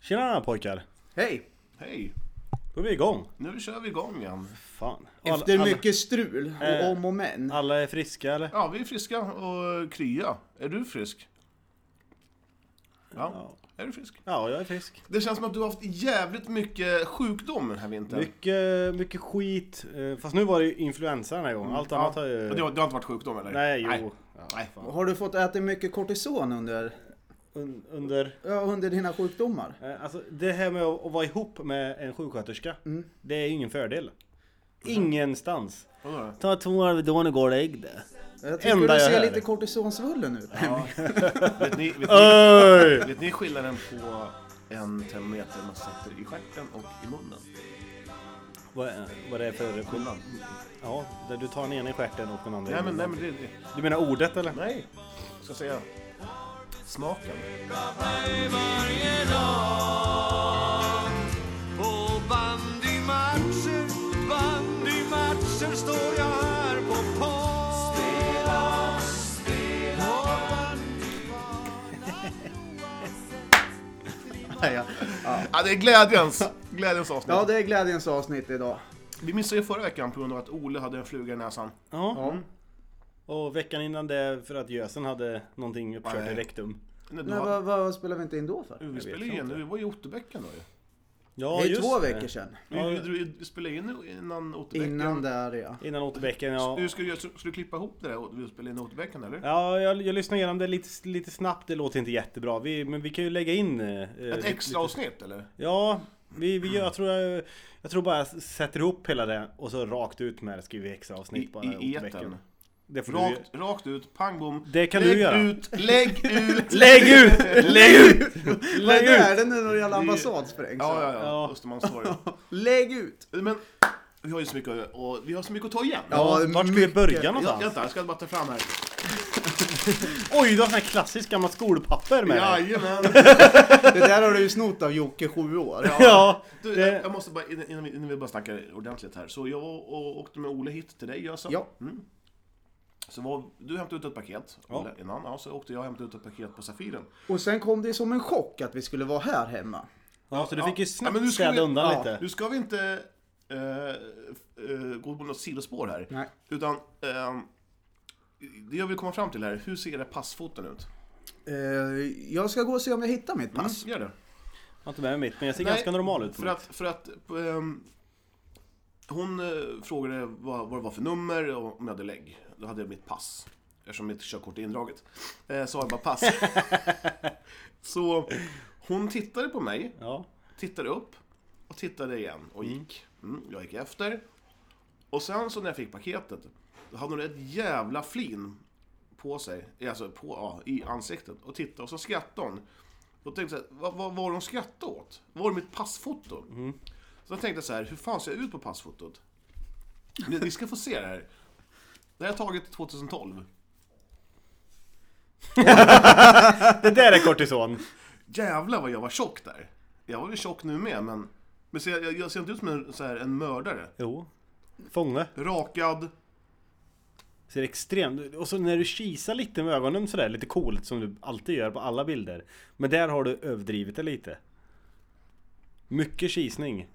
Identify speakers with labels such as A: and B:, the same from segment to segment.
A: Tjena pojkar!
B: Hej!
C: Hej!
A: Då är vi igång!
C: Nu kör vi igång igen.
A: Fan. Och alla-
B: Efter
A: alla,
B: mycket strul
A: Eh,
B: och om och men.
A: Alla är friska eller?
C: Ja, vi är friska och krya. Är du frisk? Ja. Är du frisk?
A: Ja, jag är frisk.
C: Det känns som att du har haft jävligt mycket sjukdom den här vintern.
A: Mycket, mycket skit. eh, Fast nu var det ju influensa den här gången. Allt annat
C: Mm. ja.
A: har ju...
C: Ja, Du har, du har inte varit sjukdom eller?
A: Nej, jo.
C: Nej.
A: Ja,
C: Nej.
A: fan.
B: Har du fått äta mycket kortison under,
A: Un, under...
B: ja, under dina sjukdomar?
A: eh, Alltså det här med att att vara ihop med en sjuksköterska.
B: Mm.
A: Det är ju ingen fördel.
C: Mm.
A: Ingenstans.
C: Vadå då?
A: Ta två Alvedon och går ägg det.
B: Jag tycker
A: Enda
B: du
A: jag
B: ser
A: hör.
B: lite kortisonsvullen ut.
C: Ja. vet, ni, vet, ni,
A: Öj!
C: vet ni skillnaden på en termometer man sätter i stjärten och i munnen?
A: Vad är- vad det är för...
C: Skillnad?
A: Ja, där du tar den ena i stjärten och den andra i
C: Nej men, nej
A: munnen.
C: men det, det...
A: Du menar ordet eller?
C: Nej! Ska säga... Smaken.
D: På bandymatcher, bandymatcher står jag här på plan. Spela, spela.
C: Nej, ja. ja, det är glädjens, glädjens avsnitt.
B: Ja, det är glädjens avsnitt idag.
C: Vi missade ju förra veckan på grund av att Ole hade en fluga i näsan.
A: Ja.
B: Ja.
A: Och veckan innan det för att gösen hade någonting uppkört i
C: Nej.
A: rektum.
C: Nej, du
B: Men
C: har-
B: vad, vad spelar vi inte in då för?
C: Vi spelade in, vi var i Otterbäcken då ju.
A: Ja,
B: Det är två
A: det.
B: veckor sedan.
C: Vi,
A: Ja,
C: vi, vi spelade in innan Otterbäcken.
B: Innan där ja.
A: Innan återbäcken, ja.
C: Du, ska, du, ska du klippa ihop det där och vi spelade in i Otterbäcken eller?
A: Ja, jag, jag lyssnade igenom det lite, lite snabbt, det låter inte jättebra. Vi, men vi kan ju lägga in... eh,
C: Ett
A: lite-
C: extra avsnitt eller?
A: Ja, vi, vi, jag, tror jag, jag tror bara jag s- sätter ihop hela det och så rakt ut med det skriver vi extra
C: I,
A: avsnitt bara
C: i
A: återbäcken.
C: etern.
A: Det får du
C: Rakt, rakt ut, pang bom.
A: Det kan
C: lägg
A: du göra.
C: Ut, lägg ut!
A: Lägg ut! Lägg ut!
B: Vad
A: Lägg
B: är
A: ut!
B: det när någon jävla
C: Det är ju-
B: ambassad sprängs?
C: Ja, ja, ja.
A: Ja.
C: Östermalmstorg.
B: Lägg ut!
C: Men vi har ju så mycket, att- och vi har så mycket att ta igen.
A: Ja, vart ska vi
B: mycket.
A: börja
C: Jag,
A: någonstans?
C: vänta, jag ska bara ta fram här.
A: Oj, du har sån här klassisk gammal skolpapper med dig.
C: Jajamän!
B: Det där har du ju snott av Jocke, sju år.
A: Ja,
C: Du,
A: det-
C: jag måste bara, innan innan vi, innan vi bara snackar ordentligt här. Så jag och, och, åkte med Ole hit till dig, jag sa.
B: Ja.
C: Mm. Så var, du hämtade ut ett paket,
A: Ja.
C: Ole, innan. Ja, så åkte jag och hämtade ut ett paket på Safiren.
B: Och sen kom det som en chock att vi skulle vara här hemma.
A: Ja, så du
C: Ja.
A: fick ju
C: Ja, men
A: snabbt
C: nu ska vi-
A: städa undan
B: ja,
A: lite.
C: Nu ska vi inte eh, eh, gå på något sidospår här.
B: Nej.
C: Utan, eh, det jag vill komma fram till här, hur ser era passfoten ut?
B: Eh, jag ska gå och se om jag hittar mitt pass.
C: Gör det.
A: Jag har inte med mig mitt, men jag ser
C: Nej,
A: ganska normal ut.
C: För att, för att ehm, hon eh, frågade vad, vad det var för nummer och om jag hade lägg. Då hade jag mitt pass. Eftersom mitt körkort är indraget. Eh, så har jag bara pass. så hon tittade på mig,
A: Ja.
C: tittade upp och tittade igen och gick. Mm, jag gick efter. Och sen så när jag fick paketet, då hade hon ett jävla flin på sig, alltså på, ja, i ansiktet och tittade och så skrattade hon. Då tänkte jag, så här, vad, vad var hon skrattade åt? Var det mitt passfoto? Så jag tänkte så här, hur fan ser jag ut på passfotot? Ni, ni ska få se det här. Det här är taget 2012.
A: Det där är kortison.
C: Jävlar vad jag var tjock där. Jag var väl tjock nu med, men, men ser, jag, jag ser inte ut som en, så här, en mördare.
A: Jo. Fånge.
C: Rakad,
A: Ser extremt... Och så när du kisar lite med ögonen sådär, lite coolt som du alltid gör på alla bilder. Men där har du överdrivit det lite. Mycket kisning.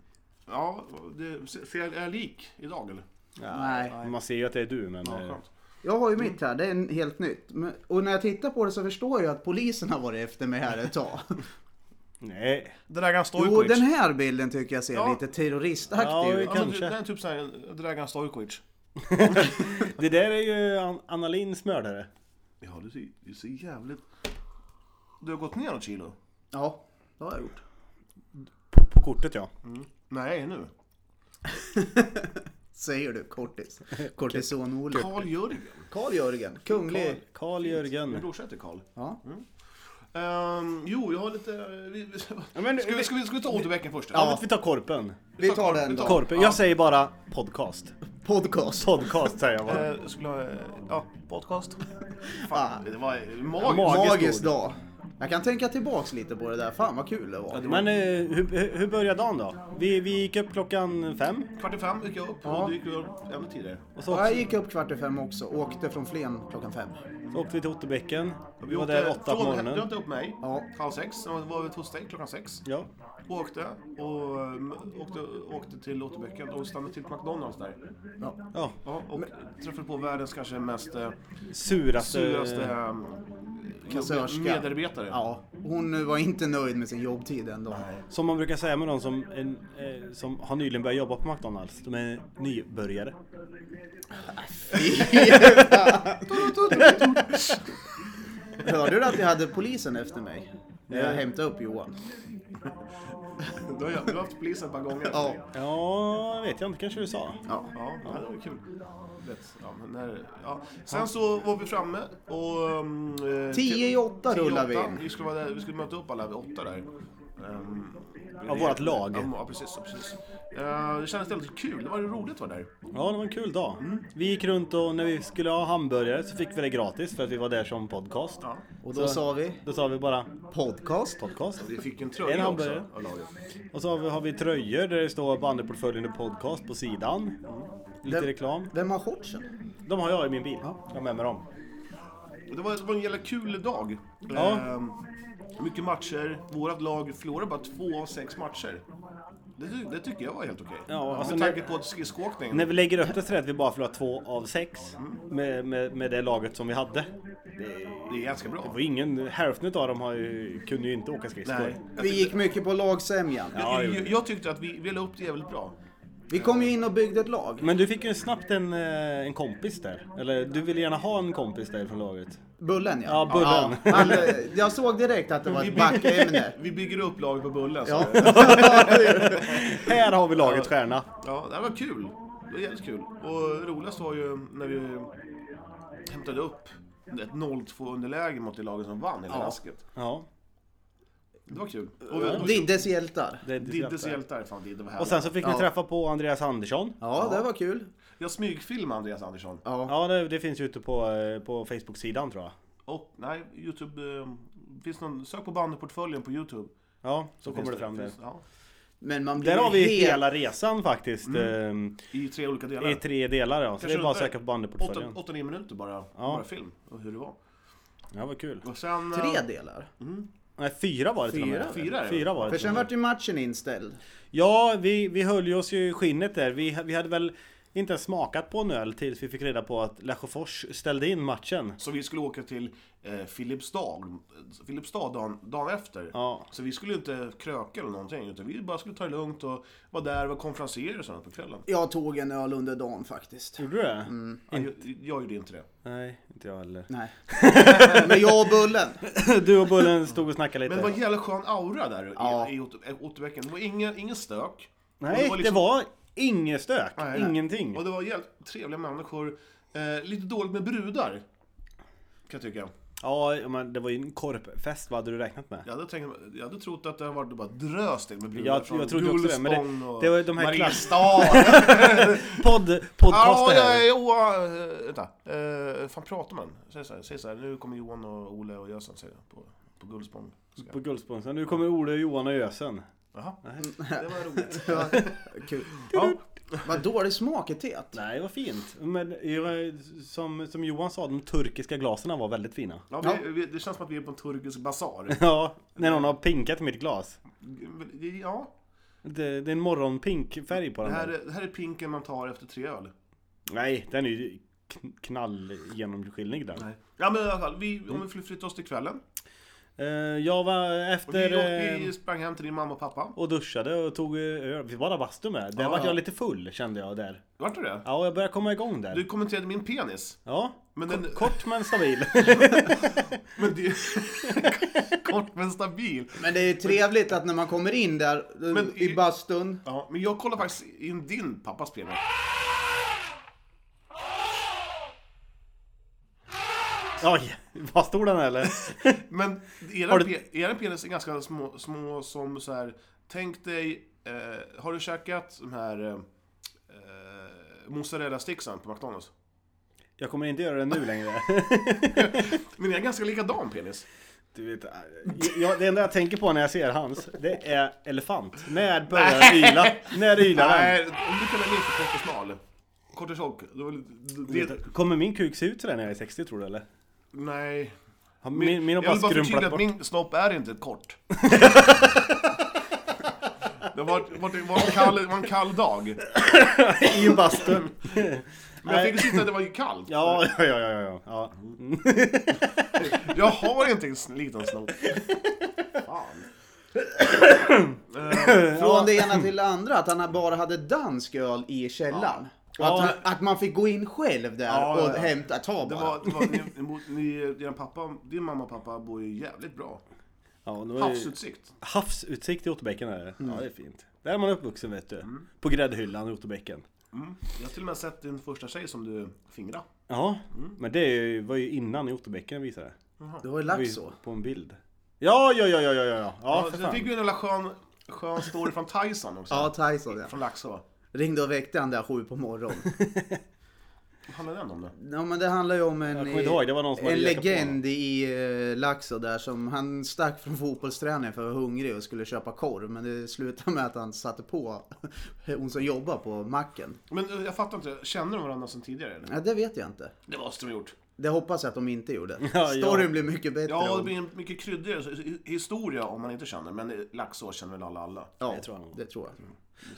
C: Ja, det, ser jag, är jag lik idag eller?
A: Ja,
B: Nej.
A: Man ser ju att det är du, men...
C: Ja,
A: eh,
C: skönt.
B: Jag har ju mitt här, det är en helt nytt. Men- Och när jag tittar på det så förstår jag att polisen har varit efter mig här ett tag.
A: nej.
C: Dragan Stojkovic.
B: Jo, den här bilden tycker jag ser
C: Ja.
B: lite terroristaktig
A: Ja,
B: ut.
C: ja, men,
A: kanske.
C: det- Den är typ såhär, Dragan Stojkovic.
A: Det där är ju An- Anna Lindhs mördare.
C: Ja, du ser, du ser jävligt... Du har gått ner något kilo?
B: Ja, det har jag gjort.
A: På, på kortet ja.
C: Nej, nu.
B: Säger du, kortis. Kortison-Olle.
C: Karl-Jörgen.
B: Karl-Jörgen,
C: Mm.
B: kunglig.
C: Min
A: Karl-Jörgen.
C: brorsa heter Karl.
B: Ja.
C: Ehm, jo, jag har lite... Vi, vi, ska,
A: Ja, men-
C: vi, ska, vi, ska vi ta återväcken först?
A: Ja, vi tar korpen.
B: Vi tar den då.
A: Korpen. Jag säger bara podcast.
B: Podcast.
A: Podcast säger jag bara.
C: Eh, skulle, ha- eh, ja, podcast.
B: Ah,
C: Det var magiskt.
A: Magiskt
B: Magisk
A: ord.
B: dag. Jag kan tänka tillbaks lite på det där. Fan vad kul det var.
A: Men eh, hur, hur- hur började dagen då? Vi, vi gick upp klockan fem
C: Kvart i fem gick jag upp
B: Ja.
C: och du gick upp ännu tidigare.
A: och så
B: Ja, jag
A: åkte,
B: gick upp kvart i fem också. Åkte från Flen klockan fem.
A: så åkte vi till Otterbäcken.
C: Och
A: Vi var där åtta på
C: från- Du
A: morgonen.
C: hämtade upp mig
B: Ja.
C: halv sex, sen var vi hos dig klockan sex.
A: Ja.
C: Och åkte och um, åkte, åkte till Otterbäcken och stannade till på McDonalds där.
B: Ja.
A: ja.
C: Ja, och träffade på världens kanske mest eh,
A: Suraste...
C: suraste eh,
B: Kassörska.
C: medarbetare.
B: ja. Hon var inte nöjd med sin jobbtid ändå.
A: Som man brukar säga med någon som, en, eh, som har nyligen börjat jobba på McDonalds. De är nybörjare.
B: Hörde du att jag hade polisen efter mig? När jag
A: Nej.
B: hämtade upp Johan.
C: Du har ju- du har haft polisen ett par gånger.
B: Ja.
A: Ja, vet jag inte. Kanske du sa.
B: Ja.
C: Ja, ja, det var kul. Vet, Ja, men när, ja. Sen så var vi framme och... Um, eh,
B: Tio i åtta
C: tio i
B: rullar vi
C: åtta.
B: in.
C: Vi skulle, vara där, vi skulle möta upp alla vid åtta där. Um,
A: Ja, vårt lag.
C: Ja, precis. ja, precis. Eh, det kändes väldigt kul. Det var ju roligt att vara där.
A: Ja, det var en kul dag. Vi gick runt och när vi skulle ha hamburgare så fick vi det gratis för att vi var där som podcast.
C: Ja.
B: Och då
A: Så-
B: sa vi
A: Då sa vi bara
B: podcast.
A: podcast.
C: Vi fick en
A: En
C: tröja
A: hamburgare.
C: också av laget.
A: Och så har vi, har vi tröjor där det står bandyportföljen och podcast på sidan. Lite
B: Den-
A: reklam.
B: Vem har shortsen?
A: De har jag i min bil. Jag har med mig dem.
C: Det var, det var en jävla kul dag.
A: Ja.
C: Ehm, mycket matcher. Vårt lag förlorade bara två av sex matcher. Det, ty- det tycker jag var helt okej.
A: Ja, alltså
C: Med
A: när-
C: tanke på skridskoåkningen.
A: När vi lägger upp det så är det att vi bara förlorar två av sex med, med, med det laget som vi hade.
C: Det är ganska
A: Det
C: bra.
A: var ingen, hälften av dem har ju, kunde ju inte åka skridskor.
C: Nej.
B: Vi gick mycket på lagsämjan.
A: Ja, det gjorde
C: Jag, jag tyckte att vi, vi la upp det jävligt bra.
B: Vi kom ju in och byggde ett lag.
A: Men du fick ju snabbt en, eh, en kompis där. Eller du ville gärna ha en kompis där från laget.
B: Bullen ja.
A: Ja, Bullen.
B: Ja, han, eh, jag såg direkt att det var ett backämne.
C: Vi bygger upp laget på Bullen.
B: Ja.
C: Ja.
A: Här har vi laget stjärna.
C: ja, det här var kul. Det var jävligt kul. Och roligast var ju när vi hämtade upp ett 0-2 underläge mot det laget som vann hela
B: Ja.
C: rasket.
A: Ja,
C: Det var kul. Och, och, och
B: Diddes hjältar.
A: det är
C: Diddes
A: Diddes
C: hjältar. Fan, Didde var
A: Och
C: härlig.
A: sen så fick
B: Ja.
A: ni träffa på Andreas Andersson.
B: Ja, det var kul.
C: Jag smygfilmade Andreas Andersson.
B: Ja.
A: Ja, det, det finns ju ute på, eh, på Facebook-sidan tror jag.
C: Och nej, Youtube... Eh, finns någon, sök på bandyportföljen på Youtube.
A: Ja, så kommer
C: Finns
A: det fram där.
C: finns- Ja,
B: Men man blir
A: Där har vi
B: helt...
A: hela resan faktiskt.
C: I tre olika
A: eh,
C: delar.
A: I tre delar ja. Så
C: Kanske
A: det är bara att
C: ungefär
A: söka på
C: Åtta-
A: bandyportföljen.
C: åtta, nio minuter bara, bara film. Och hur det var.
A: Ja, vad kul.
C: Och sen... eh,
B: Tre delar.
A: Nej, fyra var det till och med.
C: Fyra, ja.
A: fyra var det
B: För
A: till och
B: sen
A: med.
B: vart ju matchen inställd.
A: Ja, vi, vi höll ju oss ju i skinnet där. Vi, vi hade väl inte ens smakat på en öl tills vi fick reda på att Lesjöfors ställde in matchen.
C: Så vi skulle åka till eh, Filipstad, Filipstad dagen, dagen efter.
A: Ja.
C: Så vi skulle ju inte kröka eller någonting, utan vi bara skulle ta det lugnt och vara där, vara konferenser och sånt på kvällen.
B: Jag tog en öl under dagen faktiskt.
A: Gjorde du det?
C: Ja, jag, jag gjorde inte det.
A: Nej, inte jag heller.
B: Nej. Men jag och Bullen.
A: Du och Bullen stod och snackade lite.
C: Men det var en jävla skön aura där i-
B: Ja.
C: i Otto- eh, Otterbäcken. Det var ingen, ingen stök. Och
A: Nej, det
C: liksom-
A: var inget stök.
C: Nej, nej.
A: Ingenting.
C: Och det var jävligt trevliga människor. Eh, lite dåligt med brudar. Kan jag tycka.
A: Ja, men det var ju en korpfest. Vad hade du räknat med?
C: Jag hade, tänkt, jag hade trott att det hade varit bara drös till med brudar
A: Jag-
C: från
A: jag trodde också det, men det-
C: Gullspång och
A: det var ju de här
C: Mariestad.
A: Podd, podcast
C: Ja,
A: det
C: jag
A: här.
C: är Johan... eh, Vänta. Eh, fan pratar man? Säg så här, säg så här. Nu kommer Johan och Ole och Jösen säger jag, på, på Gullspång. Ska-
A: På Guldsponsor. Nu kommer Ole, Johan och Ösen.
C: Jaha. Det var roligt.
B: Ja, Mm. Kul.
C: Ja,
B: Vad dålig smak i teet.
A: Nej, vad fint. Men jag- som, som Johan sa, de turkiska glasen var väldigt fina.
C: ja, vi, vi, det känns som att vi är på en turkisk basar.
A: Ja, när någon har pinkat i mitt glas.
C: Ja,
A: Det, det är en morgonpink färg på
C: det
A: den
C: här,
A: här.
C: är- det här är pinken man tar efter tre öl.
A: Nej, den är ju kn- knall genomskinlig den.
C: Nej. Ja, men i alla fall. Vi, om vi skulle flytta oss till kvällen.
A: Eh, jag var
C: Och vi,
A: efter
C: åkte-
A: eh,
C: vi sprang hem till din mamma och pappa.
A: och duschade och tog eh, öl. Vi bara bastu med. Där
C: Ja,
A: vart
C: ja.
A: jag lite full kände jag där.
C: Vart du det?
A: Ja, och jag började komma igång
C: Du
A: där.
C: kommenterade min penis.
A: Ja,
C: Men
A: ko-
C: den-
A: kort men stabil.
C: Men det... Kort men stabil.
B: Men det är ju trevligt att när man kommer in där eh,
C: Men
B: i
C: i-
B: bastun.
C: Ja, men jag kollar faktiskt in din pappas penis.
A: Oj, vad stor den är, eller?
C: Men
A: Har
C: er,
A: du-
C: pe- er penis är ganska små, små som så här. Tänk dig, eh, har du käkat de här eh, eh, mozzarella-sticksen på McDonalds?
A: Jag kommer inte göra det nu längre.
C: Men jag är ganska likadan penis.
A: Du vet, eh, jag, det enda jag tänker på när jag ser hans, det är elefant. När börjar den yla? När ylar den?
C: Nej, om du kunde minska kortisol. Kortisol, det var lite- det, det,
A: Kommer min kuk se ut sådär när jag är 60 tror du eller?
C: Nej.
A: Har Min, min har
C: jag
A: bara
C: vill bara förtydliga
A: skrumplat
C: att
A: bort.
C: min snopp är inte ett kort. det var, var, det var, en kall, var en kall dag.
A: I en bastun.
C: Men jag fick sitta att det var ju kallt.
A: Ja, ja, ja, ja, ja. ja. Mm.
C: Jag har inte en sn- liten snopp. Fan.
B: Från det ena till det andra, att han bara hade dansk öl i källaren. Och att,
A: Ja.
B: han, att man fick gå in själv där
C: Ja, ja,
B: och
C: ja.
B: hämta, ta
C: Det
B: bara.
C: var, det var, ni, ni, ni, din, pappa, din mamma och pappa bor ju jävligt bra.
A: ja det var ju
C: Havsutsikt.
A: havsutsikt i Otterbäcken är det.
C: Mm.
A: Ja, det är fint. Där är man uppvuxen vet du. På gräddhyllan i Otterbäcken.
C: Mm. Jag har till och med sett din första tjej som du fingrade.
A: Ja,
C: Mm.
A: men det är ju- var ju innan i Otterbäcken visade det.
B: Det var ju
A: Det var ju
B: lax så.
A: På en bild. Ja, ja, ja, ja, ja, ja, ja.
C: Alltså. Ja,
A: Ja, för
C: sen fick
A: fan.
C: vi en jävla skön, skön story från Tyson också.
B: Ja, Tyson ja.
C: Från Laxå.
B: Ringde och väckte han där sju på morgonen.
C: Vad handlar den om då?
B: Ja men det handlar ju om en,
A: Jag kommer inte ihåg, det var någon som
B: en
A: hade lekat på
B: legend i eh, Laxå där som han stack från fotbollsträningen för att vara hungrig och skulle köpa korv men det slutade med att han satte på hon som jobbar på macken.
C: Men eh, jag fattar inte, känner de varandra sedan tidigare eller?
B: Ja, det vet jag inte.
C: Det måste de ha gjort.
B: Det hoppas jag att de inte gjorde.
A: ja.
B: Storyn blir mycket bättre.
C: Ja, det
B: om-
C: blir en mycket kryddigare hi- historia om man inte känner, men eh, Laxå känner väl alla alla.
B: ja
A: det tror jag nog.
B: det tror jag.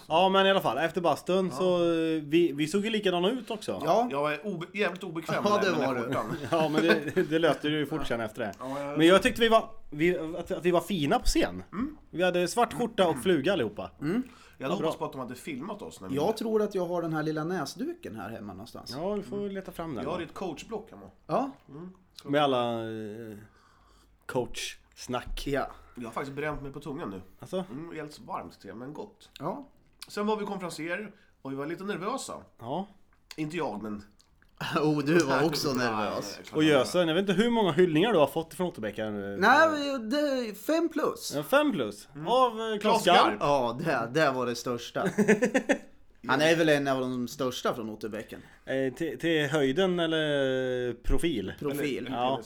A: Ja, men i alla fall. Efter bastun så... eh, Vi, vi såg ju likadana ut också.
B: Ja,
C: Jag är obe, jävligt obekväm
B: Ja,
C: med den
B: det
C: här
B: var du.
C: skjortan.
A: Ja, men det, det löste du ju fort sen efter det.
C: Ja, jag-
A: Men jag tyckte vi var, vi, att, att vi var fina på scen. Vi hade svart skjorta och fluga allihopa.
C: Jag hade hoppats på att de hade filmat oss. När vi...
B: jag tror att jag har den här lilla näsduken här hemma någonstans. Ja.
A: Ja, vi får leta fram den.
C: Jag har
A: då.
C: ett coachblock hemma.
B: Ja.
A: Med alla eh, coachsnack.
B: ja.
C: Jag har faktiskt bränt mig på tungan nu.
A: Alltså,
C: Mm, helt varmt te, men gott.
B: ja.
C: Sen var vi konferenser och vi var lite nervösa.
A: ja.
C: Inte jag, men...
B: Oh, du var också nervös.
C: Nej, klart
A: Och
C: jag var.
A: Jösen, jag vet inte hur många hyllningar du har fått från Otterbäckare nu.
B: Nej, det, fem plus.
A: En Fem plus. Av eh, Klas
C: Klas Garp.
A: Garp.
B: Ja, det, det var det största. Han är väl en av de största från Otterbäcken.
A: Eh, till, till höjden eller profil.
B: Profil.
A: Ja.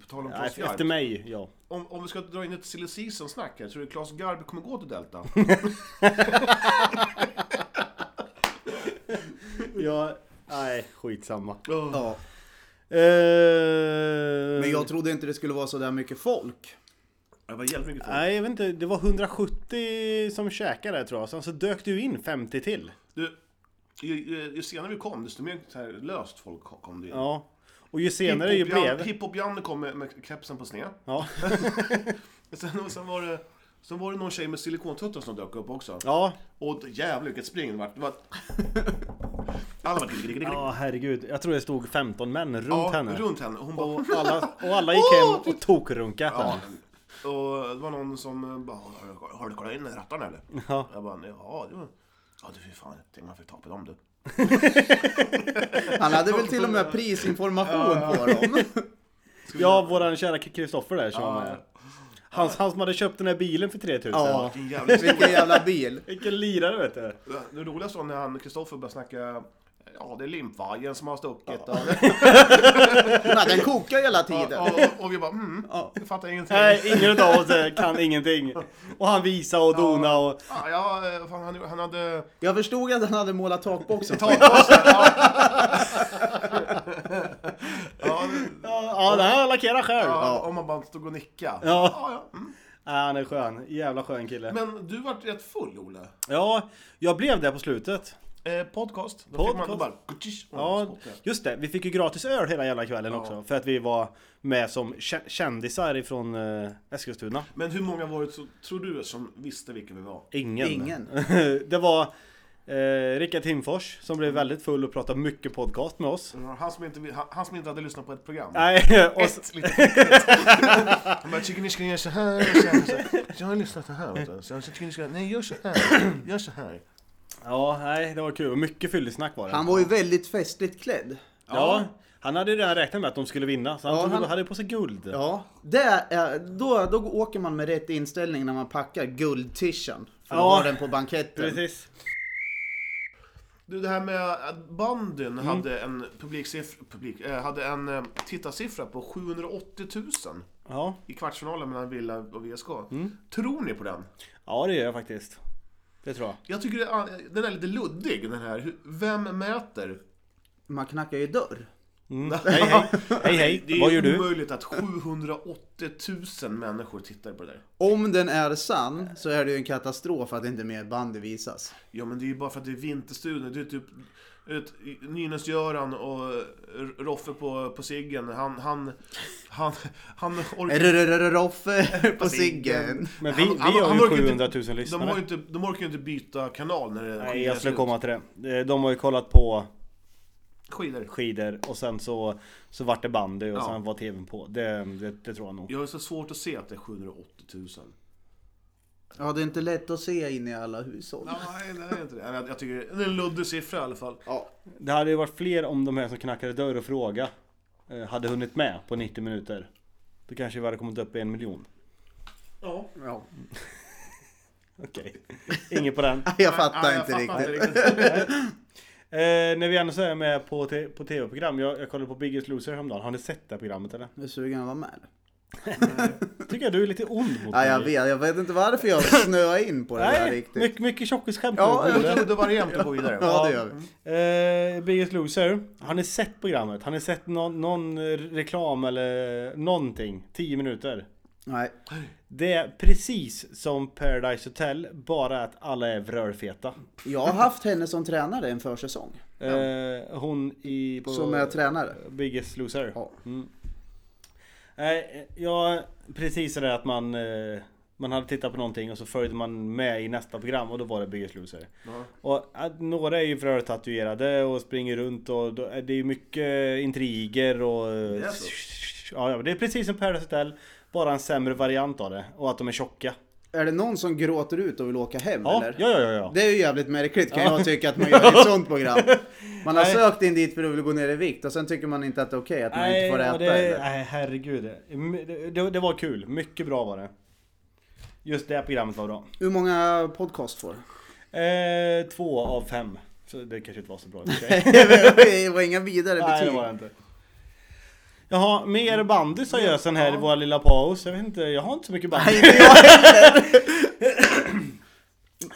C: På tal om
A: Ja,
C: Klas
A: efter efter
C: Garb.
A: mig, ja.
C: Om, om vi ska dra in ett silly season-snack här, tror du Klas Garb kommer gå till Delta?
A: ja. Nej, skitsamma.
C: Ja.
B: Ja.
A: Eh,
B: Men jag trodde inte det skulle vara så där mycket folk.
C: Det var jävligt mycket folk.
A: Nej, jag vet inte. Det var 170 som käkade tror jag. Sen så dök du in 50 till.
C: Du, ju, ju, ju senare vi kom, desto mer så här löst folk kom- kom det in.
A: Ja. Och ju senare ju
C: Hiphop-Jan-
A: blev...
C: Hiphop-Janne kom med, med kepsen på sned.
A: Ja.
C: Sen, sen, var det, sen var det någon tjej med silikontuttar som dök upp också.
A: Ja.
C: Och jävlar vilket spring det vart. Det var... Alla var digg, digg, digg, digg.
A: Ja, herregud. Jag tror det stod 15 män runt
C: Ja,
A: henne.
C: runt henne. Och Hon bara...
A: Och alla, och alla gick hem och tokrunkade
C: Ja.
A: henne.
C: Och det var någon som bara, har du- har du kollat in rattarna eller?
A: Ja.
C: Jag bara, ja det var... Ja du fy fan, tänk man fick ta på dem du.
B: Han hade väl till och med prisinformation på dem.
A: Ja, våran kära Kristoffer där som
C: Ja.
A: var med. Han, han som hade köpt den här bilen för 3000.
B: Ja.
C: Vilken jävla
B: Vilken jävla bil.
A: Vilken lirare vet du.
C: Det roligaste var när han, Kristoffer började snacka, ja det är limpvajern som har stuckit. Och,
B: Ja, den kokar hela
C: och,
B: tiden.
C: och, och vi bara, mm, jag fattar ingenting.
A: Nej, ingen utav oss eh, kan ingenting. Och han visade och dona och...
C: Ja, ja, eh, fan, han, han hade...
B: Jag förstod att han hade målat takboxen.
C: Takpåsar! Ja. ja,
A: Ja, den här lackerar själv.
C: ja, om man bara stod och nickade.
A: Ja.
C: Ja, ja. Mm.
A: Ja, han är skön. Jävla skön kille.
C: Men du vart rätt full, Olle.
A: Ja, jag blev det på slutet.
C: Eh, podcast. Då fick man då
A: Podcast.
C: bara... gutsch, och
A: Ja,
C: spotta.
A: just det. Vi fick ju gratis öl hela jävla kvällen
C: Ja.
A: också. För att vi var med som kä- kändisar ifrån eh, Eskilstuna.
C: Men hur många var det, så, tror du, som visste vilka vi var?
A: Ingen.
B: Ingen.
A: det var eh, Rickard Timfors som
C: Mm.
A: blev väldigt full och pratade mycket podcast med oss.
C: Han som inte, han, han som inte hade lyssnat på ett program.
A: Nej, och, s-
C: Ett, lite skickligt. Han bara, tycker ni ska göra så här? Så här, så här. Jag har lyssnat så här, vet du. Så jag tycker ni ska göra, nej gör så här, gör så här.
A: ja, nej, det var kul. Mycket fyllesnack var det.
B: Han var ju väldigt festligt klädd.
A: Ja, han hade ju redan räknat med att de skulle vinna. Så han,
B: Ja,
A: tog,
B: han-
A: hade på sig guld.
B: Ja, det är, då, då åker man med rätt inställning när man packar guldtishan. För att
A: Ja.
B: ha den på banketten.
A: Precis.
C: Du, det här med att banden hade en publiksiffra, publik, eh, hade en eh, tittarsiffra på 780 000.
A: Ja.
C: i kvartsfinalen mellan Villa och VSK. Tror ni på den?
A: ja, det gör jag faktiskt. Det tror jag.
C: Jag tycker det är- den är lite luddig den här. Hur- Vem mäter?
B: Man knackar ju dörr.
A: Hej hej! Hej
C: Mm. Det
A: hej!
C: är
A: Vad
C: ju
A: gör du?
C: omöjligt att 780 000 människor tittar på det där.
B: Om den är sann så är det ju en katastrof att inte mer bandy visas.
C: Ja men det är ju bara för att det är Vinterstudion. Det är typ ut, Nynäs-Göran och eh, Roffe på, på Siggen. Han, han, han, han orkar
B: Roffe på Siggen.
A: Men vi,
C: han-
A: vi har
C: han
A: ju
C: orkar
A: 700 000
C: inte- De, har ju
A: lyssnare.
C: inte, de orkar ju inte byta kanal när det
A: Nej,
C: skidor
A: jag
C: är
A: skulle
C: slut.
A: komma till det. Eh, De har ju kollat på
C: Skidor.
A: skidor och sen så, så vart det bandy och
C: Ja.
A: sen var tvn på. Det, det, det tror jag nog.
C: Jag har så svårt att se att det är 780 000.
B: Ja, det är inte lätt att se in i alla hushåll.
C: Nej, det är inte det. Jag, jag tycker det är en luddig siffra i alla fall.
B: Ja.
A: Det hade ju varit fler om de här som knackade dörr och fråga eh, hade hunnit med på 90 minuter. Då kanske vi hade kommit upp i en miljon.
C: Ja.
B: ja.
A: Okej, inget på den.
B: Jag fattar
C: Nej,
B: inte riktigt.
A: Eh, när vi ändå så är med på, te- på tv-program. Jag, jag kollade på Biggest Loser häromdagen. Har ni sett det här programmet eller?
B: Jag är sugen att vara med.
A: Tycker jag du är lite ond mot
B: Ja,
A: mig.
B: jag vet. Jag vet inte varför jag snöade in på det där
A: Nej,
B: riktigt.
A: mycket, mycket tjockisskämt.
B: Ja,
A: nu,
C: Jag
A: Olle.
C: trodde det var jämnt att gå vidare.
B: Ja, det gör vi.
A: Eh, Biggest Loser. Har ni sett programmet? Har ni sett någon, någon eh, reklam eller någonting? 10 minuter.
B: Nej.
A: Det är precis som Paradise Hotel, bara att alla är vrörfeta.
B: Jag har haft henne som tränare en försäsong.
A: Eh, hon i... På
B: Som är tränare.
A: Biggest Loser.
B: Ja.
A: Mm. Nej, ja, precis det där att man... eh, Man hade tittat på någonting och så följde man med i nästa program och då var det Biggest Loser.
C: Ja.
A: Och att några är ju frötatuerade och springer runt och då, eh, det är ju mycket intriger och... eh,
C: Det är så.
A: Ja, ja, men det är precis som Paradise Hotel, bara en sämre variant av det. Och att de är tjocka.
B: Är det någon som gråter ut och vill åka hem
A: Ja,
B: eller?
A: ja, ja, ja. ja.
B: Det är ju jävligt märkligt kan jag tycka att man gör i ett sånt program. Man har
A: Nej.
B: sökt in dit för att vill gå ner i vikt och sen tycker man inte att det är okej att man inte får
A: ja,
B: äta.
A: det,
B: eller?
A: nej, herregud. Det, det, det var kul. Mycket bra var det. Just det här programmet var bra.
B: Hur många podcast får
A: Eh, två av fem. Så det kanske inte var så bra i och för sig.
B: Det var inga vidare
A: Nej, det
B: betyg.
A: var det inte. Jaha, mer bandy sa Gösen här i vår lilla paus. Jag vet inte, jag har inte så mycket bandy.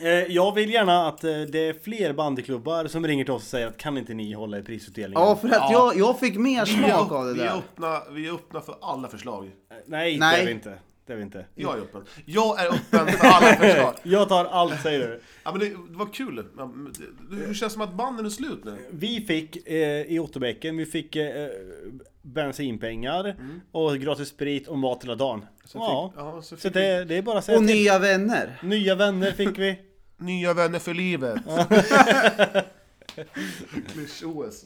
A: Eh, Jag vill gärna att eh, det är fler bandyklubbar som ringer till oss och säger att kan inte ni hålla i prisutdelningen?
B: Ja, för att jag, jag fick mer
C: Vi är,
B: smak av det
C: upp, vi, är
B: där.
C: öppna, vi är öppna för alla förslag.
A: Eh, Nej, det är
B: Nej.
A: vi inte. Det är vi inte.
C: Jag är öppen. Jag är öppen för alla förslag.
A: Jag tar allt säger du.
C: Ja, men det, det var kul. Ja, men det- det- Hur känns det som att banden är slut nu?
A: Vi fick eh, i Otterbäcken, vi fick eh, bensinpengar och gratis sprit och mat hela dagen.
C: Så
A: ja.
C: fick- ja, så
A: så
C: fick
A: det, det är bara att säga
B: Och
A: till.
B: nya vänner.
A: Nya vänner fick vi.
C: Nya vänner för livet. Klysch-OS.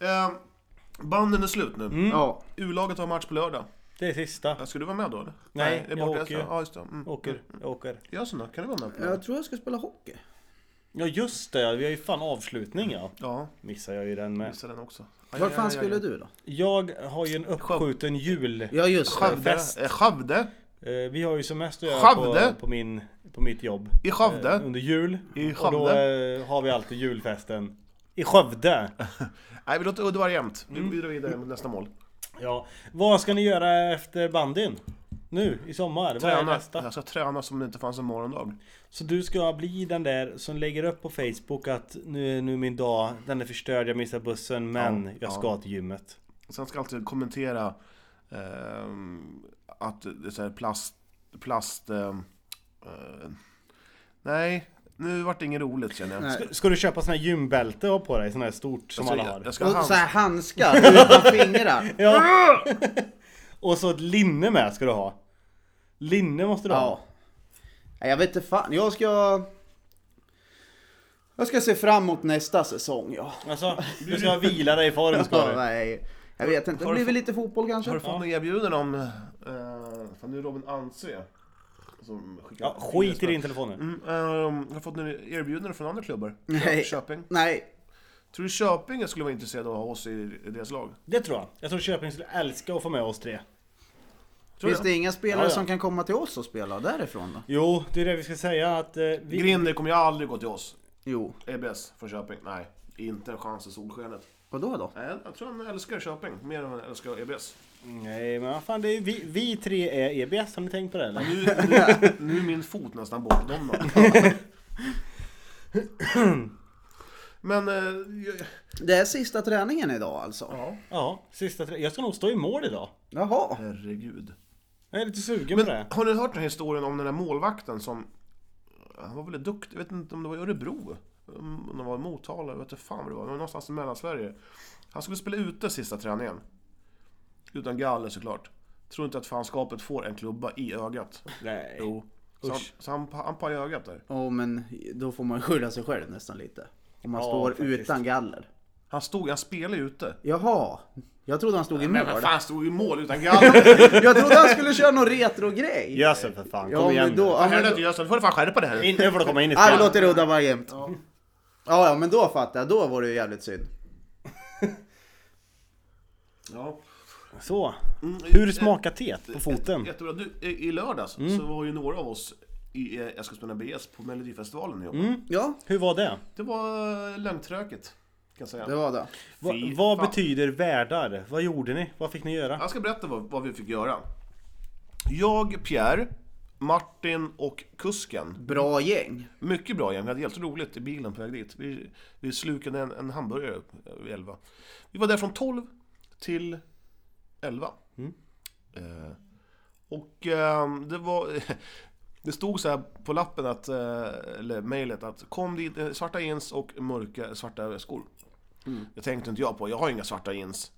C: Eh, banden är slut nu.
A: Mm.
B: Ja.
C: U-laget har match på lördag.
A: Det är sista.
C: Ja, Ska du vara med då eller?
A: Nej,
C: det är
A: jag
C: borta.
A: åker.
C: Ja, just det. Mm.
A: Åker, jag åker.
C: Gösen då? Kan du vara med på lördag?
B: Jag tror jag ska spela hockey.
A: Ja just det, ja, vi har ju fan avslutning ja.
C: Ja,
A: Missar jag ju den med.
C: missade den också. Aj,
B: Vart
C: aj,
B: fan
C: aj,
B: skulle
C: aj.
B: du då?
A: Jag har ju en uppskjuten jul.
B: Ja just det.
C: Skövde?
A: Fest.
C: Eh, Skövde?
A: Eh, vi har ju semester att göra
C: Skövde?
A: på, på, min, på mitt jobb.
C: I Skövde?
A: Eh, under jul.
C: I
A: Och då
C: Skövde?
A: eh, har vi alltid julfesten. I Skövde!
C: Nej, vi låter Uddevalla jämnt. Vi vi drar
A: Mm.
C: vidare mot nästa mål.
A: Ja. Vad ska ni göra efter bandyn? Nu i sommar? Vad är
C: Träna.
A: nästa?
C: Jag ska träna som det inte fanns en morgondag.
A: Så du ska bli den där som lägger upp på Facebook att nu är nu min dag, den är förstörd, jag missar bussen men
C: Ja,
A: jag
C: ja.
A: ska till gymmet.
C: Sen ska jag alltid kommentera ehm, att det är så här plast... plast ehm, eh, nej, nu vart det inget roligt känner jag.
B: Nej.
A: Ska, ska du köpa sån här gymbälte och ha på dig? Sån här stort som
C: Alltså, Jag ska-
A: alla har?
C: Jag ska ha
B: Och så
C: hand...
B: här handskar utan fingrar.
A: Ja. och så ett linne med ska du ha. Linne måste du
B: Ja.
A: ha.
B: Nej, Jag vet inte fan. Jag ska... Jag ska se fram emot nästa säsong ja.
A: Alltså, du ska vila dig i form ska
B: Ja,
A: du.
B: nej. Jag vet inte.
C: Har
B: Det
C: du
B: blir väl
C: fått-
B: lite fotboll
C: Har du
B: kanske?
C: fått några erbjuden om... eh, fan, nu är Robin Anse som skickar...
A: Ja, skit i din telefon nu.
C: Mm, ehm, har du fått några erbjudanden från andra klubbar?
B: Nej.
C: Köping?
B: Nej.
C: Tror du Köping skulle vara intresserad av att ha oss i deras lag?
A: Det tror jag. Jag tror Köping skulle älska att få med oss tre.
C: Tror
B: Finns
C: jag.
B: det inga spelare
A: Ja, ja.
B: som kan komma till oss och spela därifrån då?
A: Jo, det är det vi ska säga att eh, vi...
C: Grinder kommer ju aldrig gå till oss.
B: Jo.
C: EBS från Köping? Nej, inte en chans i solskenet.
B: Vadå då?
C: Nej, jag tror han älskar E Köping mer än han älskar EBS.
A: Nej men vad fan, det är vi, vi tre är EBS, har ni tänkt på det eller?
C: Nu, nu, nu är min fot nästan bortdomnad. Men... Eh, jag-
B: Det är sista träningen idag alltså?
A: Ja, sista tre. Jag ska nog stå i mål idag.
B: Jaha.
C: herregud.
A: Jag är lite sugen
C: Men
A: på det.
C: har ni hört den här historien om den där målvakten som... Han var väldigt duktig, jag vet inte om det var i Örebro. Om det var i Motala, jag vet inte fan vad det var. Det var någonstans i Mellansverige. Han skulle spela ute sista träningen. Utan galler såklart. Tror inte att fanskapet får en klubba i ögat.
A: Nej.
C: Jo. Så, han,
A: Usch.
C: så han, han pajade ögat där.
B: Ja men då får man skylla sig själv nästan lite. Om man
A: Ja,
B: står
A: faktiskt.
B: utan galler.
C: Han stod, han spelade ju ute.
B: Jaha. Jag trodde han stod i mål.
C: Men fan, stod ju i mål utan galler!
B: Jag trodde han skulle köra någon retrogrej.
A: Gör så för fan,
B: Ja,
A: kom igen
B: men då...
A: nu.
B: Ja, men
C: Helvete Jönsson, nu får du fan skärpa dig här!
A: In, nu får du komma in i
B: Ja, vi
A: spelet.
B: låter det udda vara jämt. Ja. ja, men då fattar jag. Då var det ju jävligt synd.
C: Ja. Mm,
A: Så. Hur smakar teet på foten? Mm.
C: Jättebra. Du, i i lördags så var ju några av oss i eh, Jag ska spela BS på Melodifestivalen i år.
A: Mm.
B: Ja,
A: Hur var det?
C: Det var eh, lönntröket, kan jag säga.
B: det var det.
A: Va,
C: Fy
A: vad
C: fan.
A: betyder värdar? Vad gjorde ni? Vad fick ni göra?
C: Jag ska berätta vad, vad vi fick göra. Jag, Pierre, Martin och kusken.
B: Bra gäng.
C: Mycket bra gäng, vi hade helt roligt i bilen på väg dit. Vi, vi slukade en, en hamburgare upp vid 11. Vi var där från 12 till 11. Eh, och eh, det var... Det stod så här på lappen, att, eh, eller mejlet, att kom dit eh, svarta jeans och mörka svarta skor. Det tänkte inte jag på, jag har inga svarta jeans.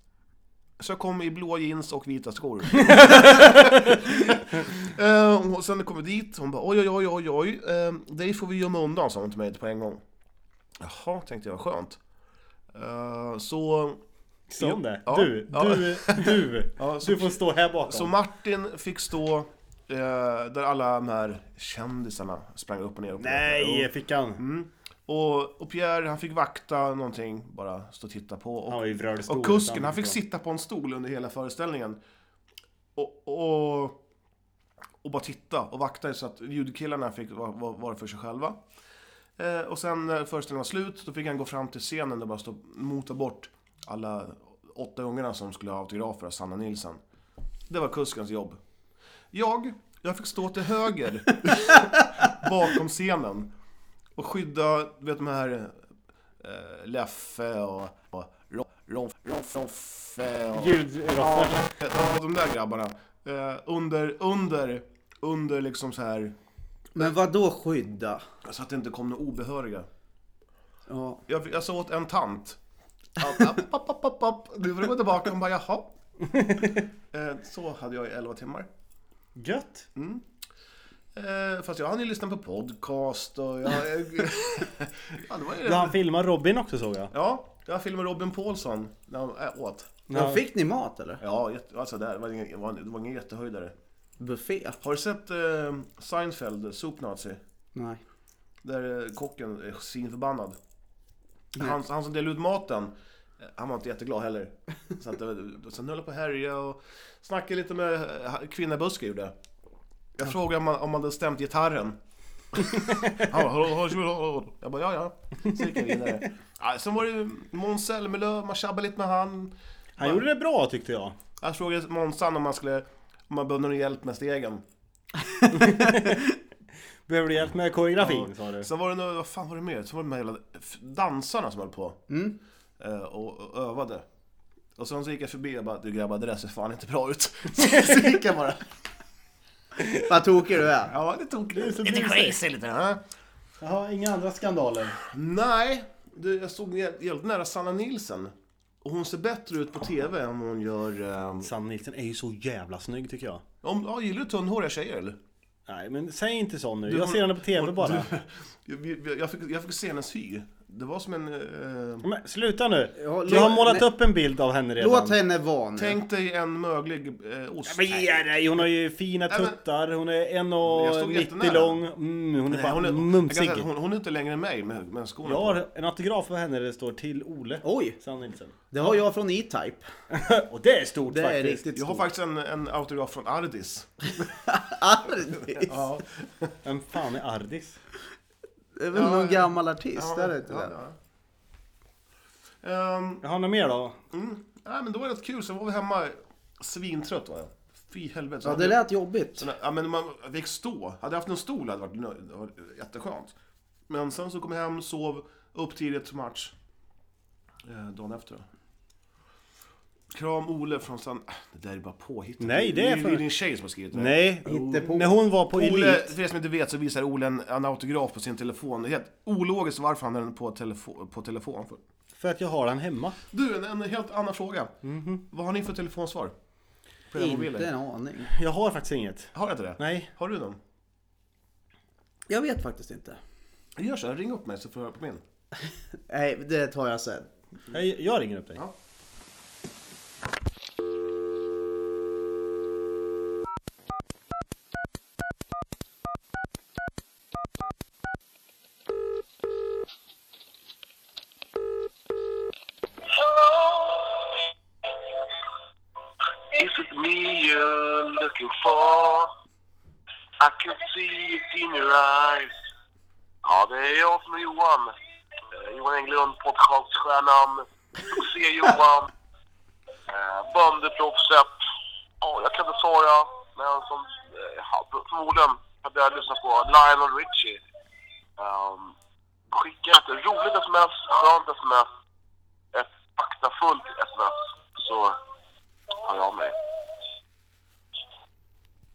C: Så jag kom i blåa jeans och vita skor. Eh, och sen kom vi dit, hon bara oj oj oj oj oj, eh, dig får vi gömma undan sa hon till mig på en gång. Jaha, tänkte jag, skönt. Eh, så,
A: Sa hon det?
C: Ja.
A: Du,
C: Ja.
A: du, du.
C: Ja, så-
A: Du får stå här bakom.
C: så Martin fick stå eh, där alla de här kändisarna sprang upp och ner. Och upp.
A: Nej, fick han.
C: Mm. Och, och Pierre, han fick vakta någonting, bara stå och titta på. Och,
A: Han var ju vrölig stor,
C: och kusken,
A: utan-
C: han fick sitta på en stol under hela föreställningen. Och, och, och bara titta och vakta så att ljudkillarna fick vara var, vara för sig själva. Eh, och sen när föreställningen var slut, då fick han gå fram till scenen och bara stå, mota bort alla åtta ungarna som skulle ha autografer av Sanna Nilsson. Det var kuskens jobb. Jag, jag fick stå till höger bakom scenen och skydda, du vet de här eh, Leffe och, och Ro- Ro- Ro- Roffe och
A: Gud, Roffe.
C: ja, de där grabbarna. Eh, under, under, under liksom så här
B: Men vad då skydda?
C: så att det inte kom några obehöriga.
B: Ja.
C: Jag, jag sa åt en tant. att, app, app, app, app, app. Du får gå tillbaka och bara jaha. Eh, Så hade jag i 11 timmar.
A: Gött.
C: Mm. Eh, Fast jag hann ju lyssna på podcast och jag... ja, det var ju
A: Ja, han filmar Robin också såg jag.
C: Ja, jag filmade Robin Paulsson när han ä- åt.
B: Men fick ni mat eller?
C: Ja, jätte- alltså där, det var ingen, det var, det var ingen jättehöjdare.
B: Buffé?
C: Har du sett eh, Seinfeld, Sopnazi?
B: Nej.
C: Där eh, kocken är svinförbannad. Han, han som delade ut maten, eh, han var inte jätteglad heller. Så att, det var- sen höll jag på att härja och snackade lite med eh, kvinnabuske gjorde jag. Jag frågade om man, om man hade stämt gitarren. Han bara, "Hallå, hallå, hallå, hallå." Jag bara, ja ja. Så gick jag vidare. Ja, sen var det ju Måns Zelmerlöw, man tjabbade lite med han.
A: Han gjorde det bra tyckte jag.
C: Jag frågade Månsan om man skulle, om man behövde någon hjälp med stegen.
A: Behöver du hjälp med koreografin sa du?
C: Sen var det några, vad fan var det mer? Sen var det de här jävla f- dansarna som höll på eh, och, och övade. Och sen så gick jag förbi och bara, du grabbar det där ser fan inte bra ut. så gick jag bara.
B: Vad tokig du är.
C: Ja, det tog
A: så
C: lite
A: busig.
C: crazy lite. Ja.
A: Jaha, inga andra skandaler.
C: Nej, det, jag stod jä- jävligt nära Sanna Nilsen. Och hon ser bättre ut på TV än hon gör... Eh,
A: Sam Nilsson är ju så jävla snygg tycker jag.
C: om, ja, gillar du tunnhåriga tjejer eller?
A: Nej men säg inte så nu.
C: hon-
A: Jag ser henne på TV
C: hon-
A: bara.
C: Jag, jag, jag, fick, jag fick se hennes hy. Det var som en... Eh,
A: Men sluta nu.
B: Ja,
A: Du har
B: låt-
A: målat
B: nej.
A: upp en bild av henne redan.
B: Låt henne vara nu.
C: tänk dig en möglig eh, ost.
A: Men ge dig! Hon har ju fina
C: Nej, men-
A: tuttar, hon är
C: Jag stod jättenära.
A: 1,90 lång. Mm, hon är
C: Nej,
A: bara
C: hon, är, jag kan
A: mumsig.
C: säga att hon, hon är inte längre än mig med, med skorna
A: Jag
C: på.
A: har en autograf på henne där det står till Ole.
C: Oh.
B: Oj.
A: Sam Nilsson.
B: Det har jag från E-Type.
A: Och det är stort
B: Det är
A: faktiskt.
B: riktigt
C: Jag har
B: stort.
C: faktiskt en, en autograf från Ardis.
B: Ardis.
C: Ja,
A: Vem fan är Ardis?
B: Det är väl
C: Ja,
B: någon
C: ja.
B: gammal artist? är det inte det?
C: ja. Ehm,
A: Jag har något mer då?
C: mm, nej, men det var rätt kul, sen var vi hemma Svintrött var jag. Fy helvete. Så
B: Ja,
C: hade
B: det
C: jag-
B: lät jobbigt.
C: Sådär, Ja, men man fick stå. Hade jag haft en stol hade det varit nö- det var jätteskönt. Men sen så kom jag hem, sov, upp tidigt till match. Eh, dagen efter då. Kram Ole från San... Ah, Det där är bara påhittat.
A: Nej, det är
C: ju
A: för-
C: din tjej som har skrivit det.
A: Nej,
B: Hittepå.
A: när hon var på
C: Ole,
A: Elit.
C: för er som inte vet så visar Ole en, en autograf på sin telefon. Det är helt ologiskt varför han har den på, telefo- på telefon. För.
A: För att jag har den hemma.
C: Du, en, en helt annan fråga. Vad har ni för telefonsvar? På era
B: Inte en
C: mobiler?
B: aning.
A: Jag har faktiskt inget.
C: Har jag inte det?
A: Nej.
C: Har du någon?
B: Jag vet faktiskt inte.
C: Gör så här, ring upp mig så får jag höra på min.
B: Nej, det tar jag sen.
A: Jag, jag ringer upp dig.
C: Ja.
E: Is it me you're looking for? I can see it in your eyes. Ah, Ja, det är jag som är Johan. Eh, Johan Englund, podcaststjärnan, succé-Johan, eh, bandyproffset. Ja, jag kan inte svara, men som eh, ja, förmodligen hade jag lyssnat på Lionel Richie. Ehm, skicka ett roligt sms, skönt sms, ett faktafullt sms, så hör jag av mig.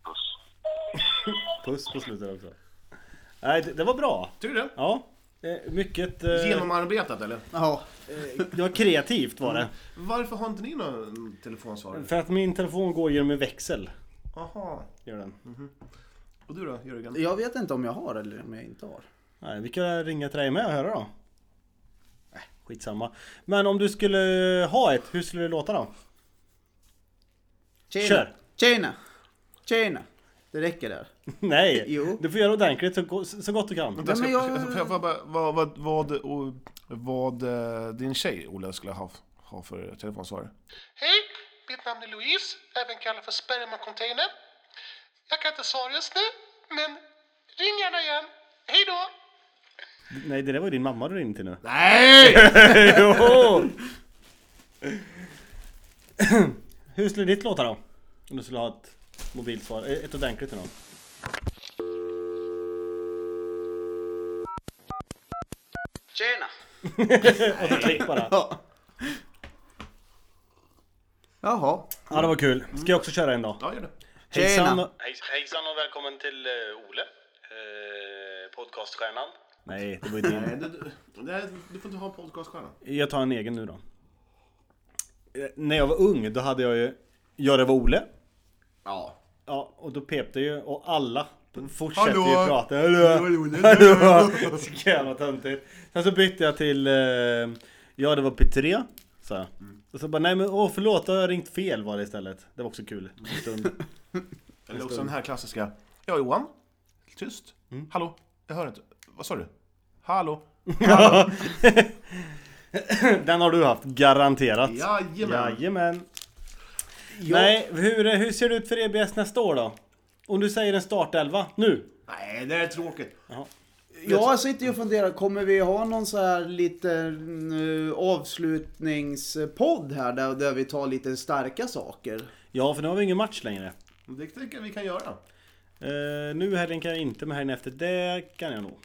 E: Puss.
A: Puss på slutet också. Nej, det, det var bra.
C: Tycker du det?
A: Ja, eh, mycket... eh,
C: Genomarbetat eller?
B: Ja,
A: Det var kreativt var det.
C: Varför har inte ni någon
B: Mm.
C: telefonsvarare?
A: För att min telefon går genom en växel.
C: Aha.
A: Gör den.
C: Och du då Jörgen?
B: jag vet inte om jag har eller om jag inte har.
A: Nej, vi kan ringa till dig med och höra då. Nej, skitsamma. Men om du skulle ha ett, hur skulle det låta då?
B: Tjena!
A: Kör.
B: Tjena! Tjena! Det räcker där.
A: Nej,
B: Jo.
A: du får göra ordentligt så, go- så gott du kan.
C: Jag ska-
B: men jag-
C: Får jag- får jag bara- Vad, vad, vad, och- vad eh, din tjej Ola skulle ha, ha för telefonsvarare?
F: Hej, mitt namn är Louise, även kallad för spermacontainer. Jag kan inte svara just nu, men ring gärna igen. Hej då!
A: Nej, det där var ju din mamma du ringde till nu.
C: Nej!
A: Jo! hur skulle ditt låta då? Om du skulle ha ett mobilt svar, eh, ett ordentligt till någon.
B: Tjena!
A: Och så klick bara.
B: Ja. Jaha.
A: Ja, det var kul. Ska jag också köra en då?
C: Ja, gör det.
A: Hejsan
B: Tjena.
A: och, hejsan och välkommen till eh, Ole, eh, podcaststjärnan. Nej, det var ju din.
C: Nej, du, du, du får inte ha en podcaststjärna.
A: Jag tar en egen nu då. Eh, När jag var ung, då hade jag ju Jag det var Ole.
B: Ja.
A: Ja, och då pep det ju och alla fortsätter
C: Hallå!
A: ju prata. Hallå! Hallå! Så jävla töntigt. Sen så bytte jag till eh, Ja det var P3. Så. jag. Och så bara nej men åh förlåt, då har jag ringt fel var det istället. Det var också kul. En stund.
C: Eller också den här klassiska. Ja, Johan. Tyst. Hallå? Jag hör inte. Vad sa du? Hallå?
A: Den har du haft, garanterat.
C: Jajamän.
A: Jajamän. Nej, hur, hur ser det ut för EBS nästa år då? Om du säger en startelva, nu.
C: Nej, det är tråkigt.
B: Jag sitter ju och funderar, kommer vi ha någon så här liten eh, avslutningspodd här där, där vi tar lite starka saker?
A: Ja, för nu har vi ingen match längre.
C: Det tycker jag vi kan göra.
A: Eh, nu i helgen kan jag inte, men helgen efter det kan jag nog.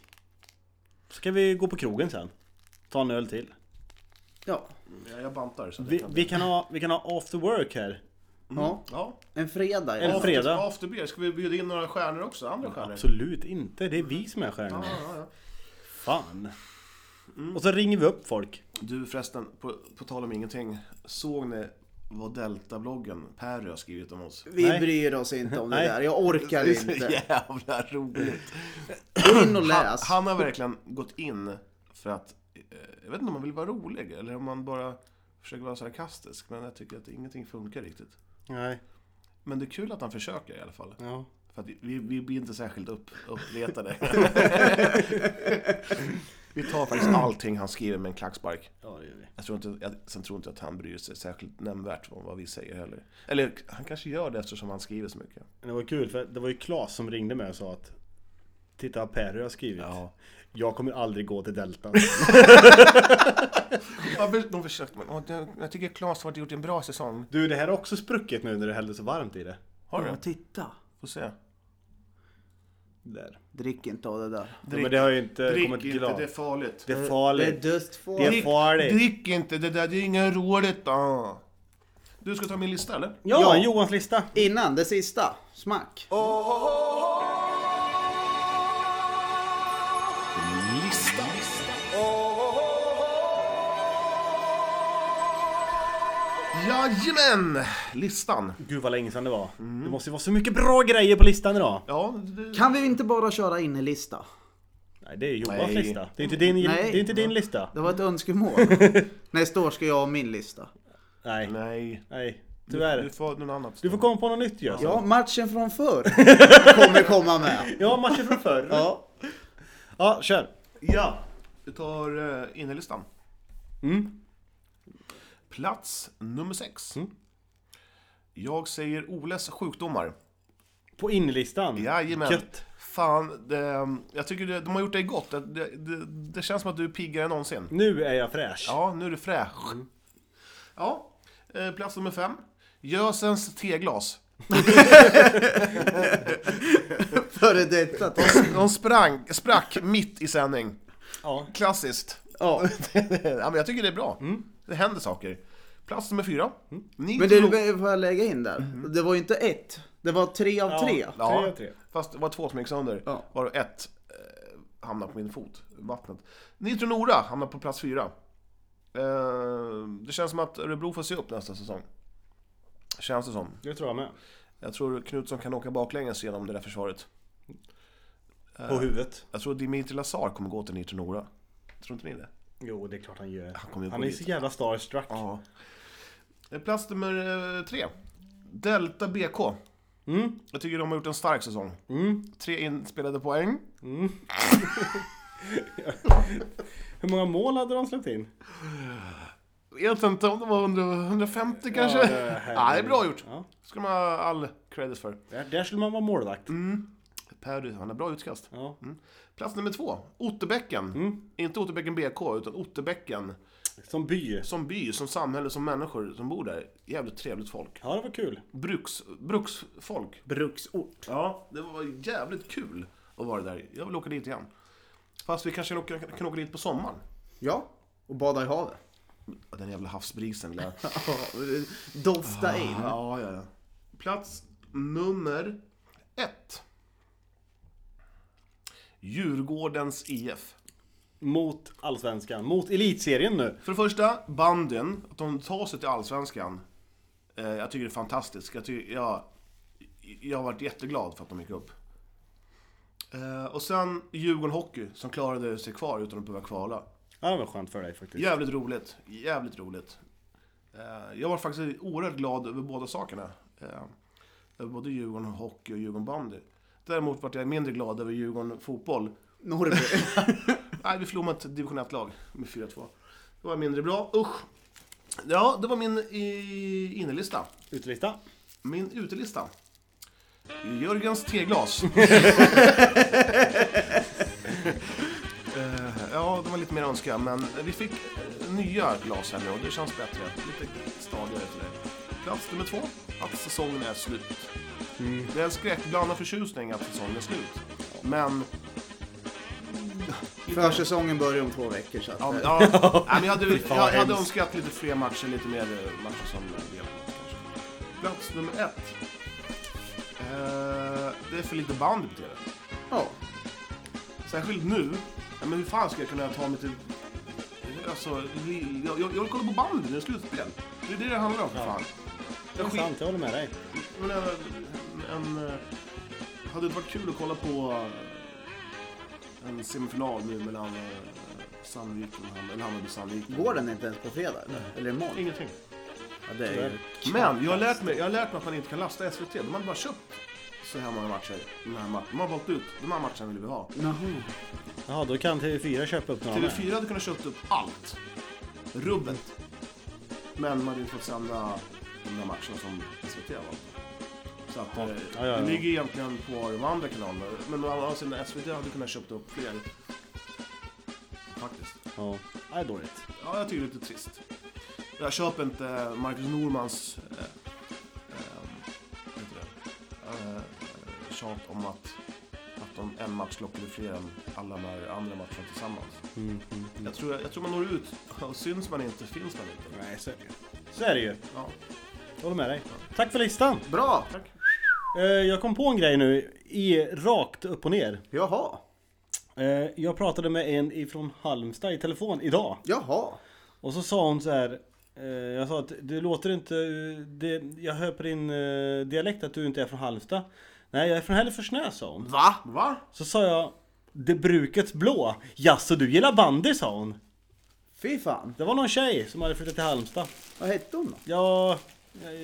A: Ska vi gå på krogen sen? Ta en öl till.
B: Ja.
C: Jag jag bantar. Så det
A: Vi,
C: kan
A: vi, kan, ha, vi kan ha after work här.
B: Mm. ja.
C: Ja.
B: En fredag.
A: En
B: Ja.
A: fre- fredag.
C: After, after beer. Ska vi bjuda in några stjärnor också? Andra stjärnor?
A: Absolut inte, det är vi som är stjärnorna.
C: Ja, ja, ja.
A: Fan. Och så ringer vi upp folk.
C: Du förresten, på, på tal om ingenting. Såg ni vad Delta-bloggen Perry har skrivit om oss?
B: Vi
A: Nej.
B: bryr oss inte om det
A: Nej.
B: där. Jag orkar
C: Det är så
B: inte.
C: jävla roligt.
B: Gå in och
C: Han,
B: läs.
C: han har verkligen gått in för att, eh, jag vet inte om han vill vara rolig eller om han bara försöker vara sarkastisk. Men jag tycker att ingenting funkar riktigt.
A: Nej.
C: Men det är kul att han försöker i alla fall.
A: Ja.
C: För att vi, vi blir inte särskilt upp, uppretade. vi tar faktiskt allting han skriver med en klackspark.
A: Ja, det gör vi.
C: Jag tror inte, jag, sen tror inte att han bryr sig särskilt nämnvärt om vad vi säger heller. Eller han kanske gör det eftersom han skriver så mycket.
A: Det var kul för det var ju Claes som ringde mig och sa att Titta vad Perry har skrivit.
C: Ja.
A: Jag kommer aldrig gå till Delta.
C: Ja, för- De försökte man. Ja, det- Jag tycker Claes har gjort en bra säsong.
A: du, det här har också spruckit nu när det hällde så varmt i det.
C: Har du?
B: Ja, titta.
C: Får se.
A: Där.
B: Drick inte av det där.
A: Nej, men det har ju inte
C: Drick
A: kommit
C: inte,
A: glas.
C: det är farligt.
A: Det är
B: Det är
A: farligt. Det är
B: dödsfarligt.
C: Drick-
A: farligt.
C: Drick inte det där, det är inget roligt. Ah. Du ska ta min lista eller?
A: Ja, Johans lista.
B: Innan det sista. Smack.
C: Lista. Jajamän! Listan.
A: Gud vad länge sedan det var. Det måste ju vara så mycket bra grejer på listan idag.
C: Ja, det...
B: Kan vi inte bara köra in i lista?
A: Nej, det är Johans
C: Nej.
A: lista. Det är inte din,
B: Nej.
A: det är inte din lista.
B: Det var ett önskemål. Nästa år ska jag ha min lista.
A: Nej,
C: Nej.
A: nej.
C: Du
A: Tyvärr.
C: får någon annan.
A: Du får komma på något nytt Jönsson.
B: Ja, matchen från förr kommer komma med.
A: Ja, matcher från förr.
B: Ja.
A: Ja, kör.
C: Ja, vi tar uh, innerlistan.
A: Mm.
C: Plats nummer sex. Jag säger Oles sjukdomar.
A: På inlistan.
C: Jajamän.
A: Gött.
C: Fan, det, jag tycker det, de har gjort dig gott. Det, det, det känns som att du är piggare än någonsin.
A: Nu är jag fräsch.
C: Ja, nu är du fräsch.
B: Mm.
C: Ja, eh, plats nummer fem. Gösens teglas.
B: Före detta. ta-
C: De sprang, sprack mitt i sändning.
A: Ja.
C: Klassiskt.
B: Ja. Mm.
C: ja, men jag tycker det är bra. Det händer saker. Plats nummer fyra. Ni
B: Men det Mm.
C: tror-
B: du får jag lägga in där. Det var ju inte ett. Det var tre av tre.
A: Ja. Tre av tre.
C: Fast det var två som gick sönder.
B: Ja.
C: Varav ett eh, hamnade på min fot, vattnet. Nitro Nora hamnade på plats fyra. Eh, det känns som att Örebro får se upp nästa säsong. Känns det som.
A: Det tror jag med.
C: Jag tror Knutsson kan åka baklänges genom det där försvaret.
A: På huvudet.
C: Jag tror Dimitri Lazar kommer gå till Nitro Nora. Tror inte ni det?
A: Jo, det är klart han gör.
C: kommer ju
A: Han
C: gå
A: är
C: dit.
A: så jävla starstruck.
C: Ja. Eh, Plats nummer eh, tre. Delta BK. Jag tycker de har gjort en stark säsong.
A: Mm.
C: Tre inspelade poäng.
A: Hur många mål hade de släppt in?
C: vet inte om det var 100, 150 kanske.
A: Ja,
C: Ja,
A: det är
C: det,
A: härligt.
C: är bra gjort.
A: Ja.
C: ska man ha all credit för.
A: Där, där skulle man vara målvakt.
C: Perry, han har bra utkast.
A: Ja. Mm.
C: Plats nummer två, Otterbäcken. Inte Otterbäcken BK, utan Otterbäcken
A: Som by.
C: som by, som samhälle, som människor som bor där. Jävligt trevligt folk.
A: Ja, det var kul.
C: Bruks, bruksfolk.
B: Bruksort.
C: Ja, det var jävligt kul att vara där. Jag vill åka dit igen. Fast vi kanske kan åka, kan åka dit på sommaren.
B: Ja. Och bada i havet.
C: Ja, Den jävla havsbrisen. lär-
B: Dofta in.
C: Ja, ja, ja. Plats nummer ett. Djurgårdens E IF.
A: Mot Allsvenskan. Mot Elitserien nu.
C: För det första, banden, att de tar sig till Allsvenskan. Eh, jag tycker det är fantastiskt. Jag, tycker, jag, jag har varit jätteglad för att de gick upp. Eh, och sen Djurgården Hockey, som klarade sig kvar utan att behöva kvala.
A: Ja, det var skönt för dig faktiskt.
C: Jävligt roligt, jävligt roligt. Eh, Jag var faktiskt oerhört glad över båda sakerna. Eh, Över både Djurgården Hockey och Djurgården Bandy. Däremot var jag mindre glad över Djurgården Fotboll.
B: Norrby.
C: Nej, vi förlorade ett division 1-lag med 4-2. Det var mindre bra, usch. Ja, det var min i- innerlista.
A: Utelista.
C: Min utelista. Jörgens teglas. Eh, ja, de var lite mer önska, men vi fick eh, nya glas här nu och det känns bättre. Lite stadigare för dig. Plats nummer två, att säsongen är slut. Det är en skräckblandad förtjusning att säsongen är slut. Men...
B: Försäsongen börjar om två veckor så att,
C: Ja, men-
B: eh,
C: ja, nej, men jag, hade, jag
A: vad
C: hade
A: hemskt.
C: önskat lite fler matcher, lite mer eh, matcher som del. kanske. Plats nummer ett. Eh, det är för lite bandy på TV.
B: ja.
C: Särskilt nu. Ja, men hur fan ska jag kunna ta mig till... Alltså, vi- jag, jag, jag vill kolla på bandy nu, slutspel. Det är det det handlar om för fan.
A: Det är sant, jag håller med dig.
C: Men, eh, en, eh, hade det varit kul att kolla på eh, en semifinal nu mellan eh, Sandviken och Hammarby- eller Hammarby-Sandviken?
B: Går den inte ens på fredag? Eller imorgon?
C: Ingenting.
B: Ja, det är ju...
C: Men jag har, lärt mig, jag har lärt mig att man inte kan lasta SVT. De har bara köpt så här många matcher. De, här ma- de har valt ut, de här matcherna vill vi ha.
B: Jaha.
A: Jaha, då kan TV4 köpa upp några med.
C: TV4 hade kunnat köpt upp allt. Rubbet. Men man hade inte fått sända de där matcherna som SVT har valt. Så att, eh,
A: Ja, ja, ja.
C: Det ligger egentligen på de andra kanalerna. Men å andra sidan, SVT hade kunnat köpt upp fler. Faktiskt.
A: Ja, det är dåligt.
C: Ja, jag tycker det är lite trist. Jag köper inte Marcus Normans eh, eh, vad heter det? Eh, tjat om att, att de en match klockade fler än alla de här andra matcherna tillsammans. Jag, tror, jag tror man når ut och syns man inte finns man inte.
A: Nej, så är det ju. Så är det ju.
C: Ja.
A: Jag håller med dig. Tack för listan!
B: Bra!
A: Eh, Jag kom på en grej nu, i, rakt upp och ner.
B: Jaha.
A: Eh, Jag pratade med en ifrån Halmstad i telefon idag.
B: Jaha.
A: Och så sa hon så här. eh, Jag sa att du låter inte... Det, jag hör på din eh, dialekt att du inte är från Halmstad. Nej, jag är från Hälleforsnäs sa hon.
B: Va?
C: Va?
A: Så sa jag. Det brukets blå. Jaså, du gillar bandy sa hon.
B: Fy fan.
A: Det var någon tjej som hade flyttat till Halmstad.
B: Vad hette hon då?
A: Ja,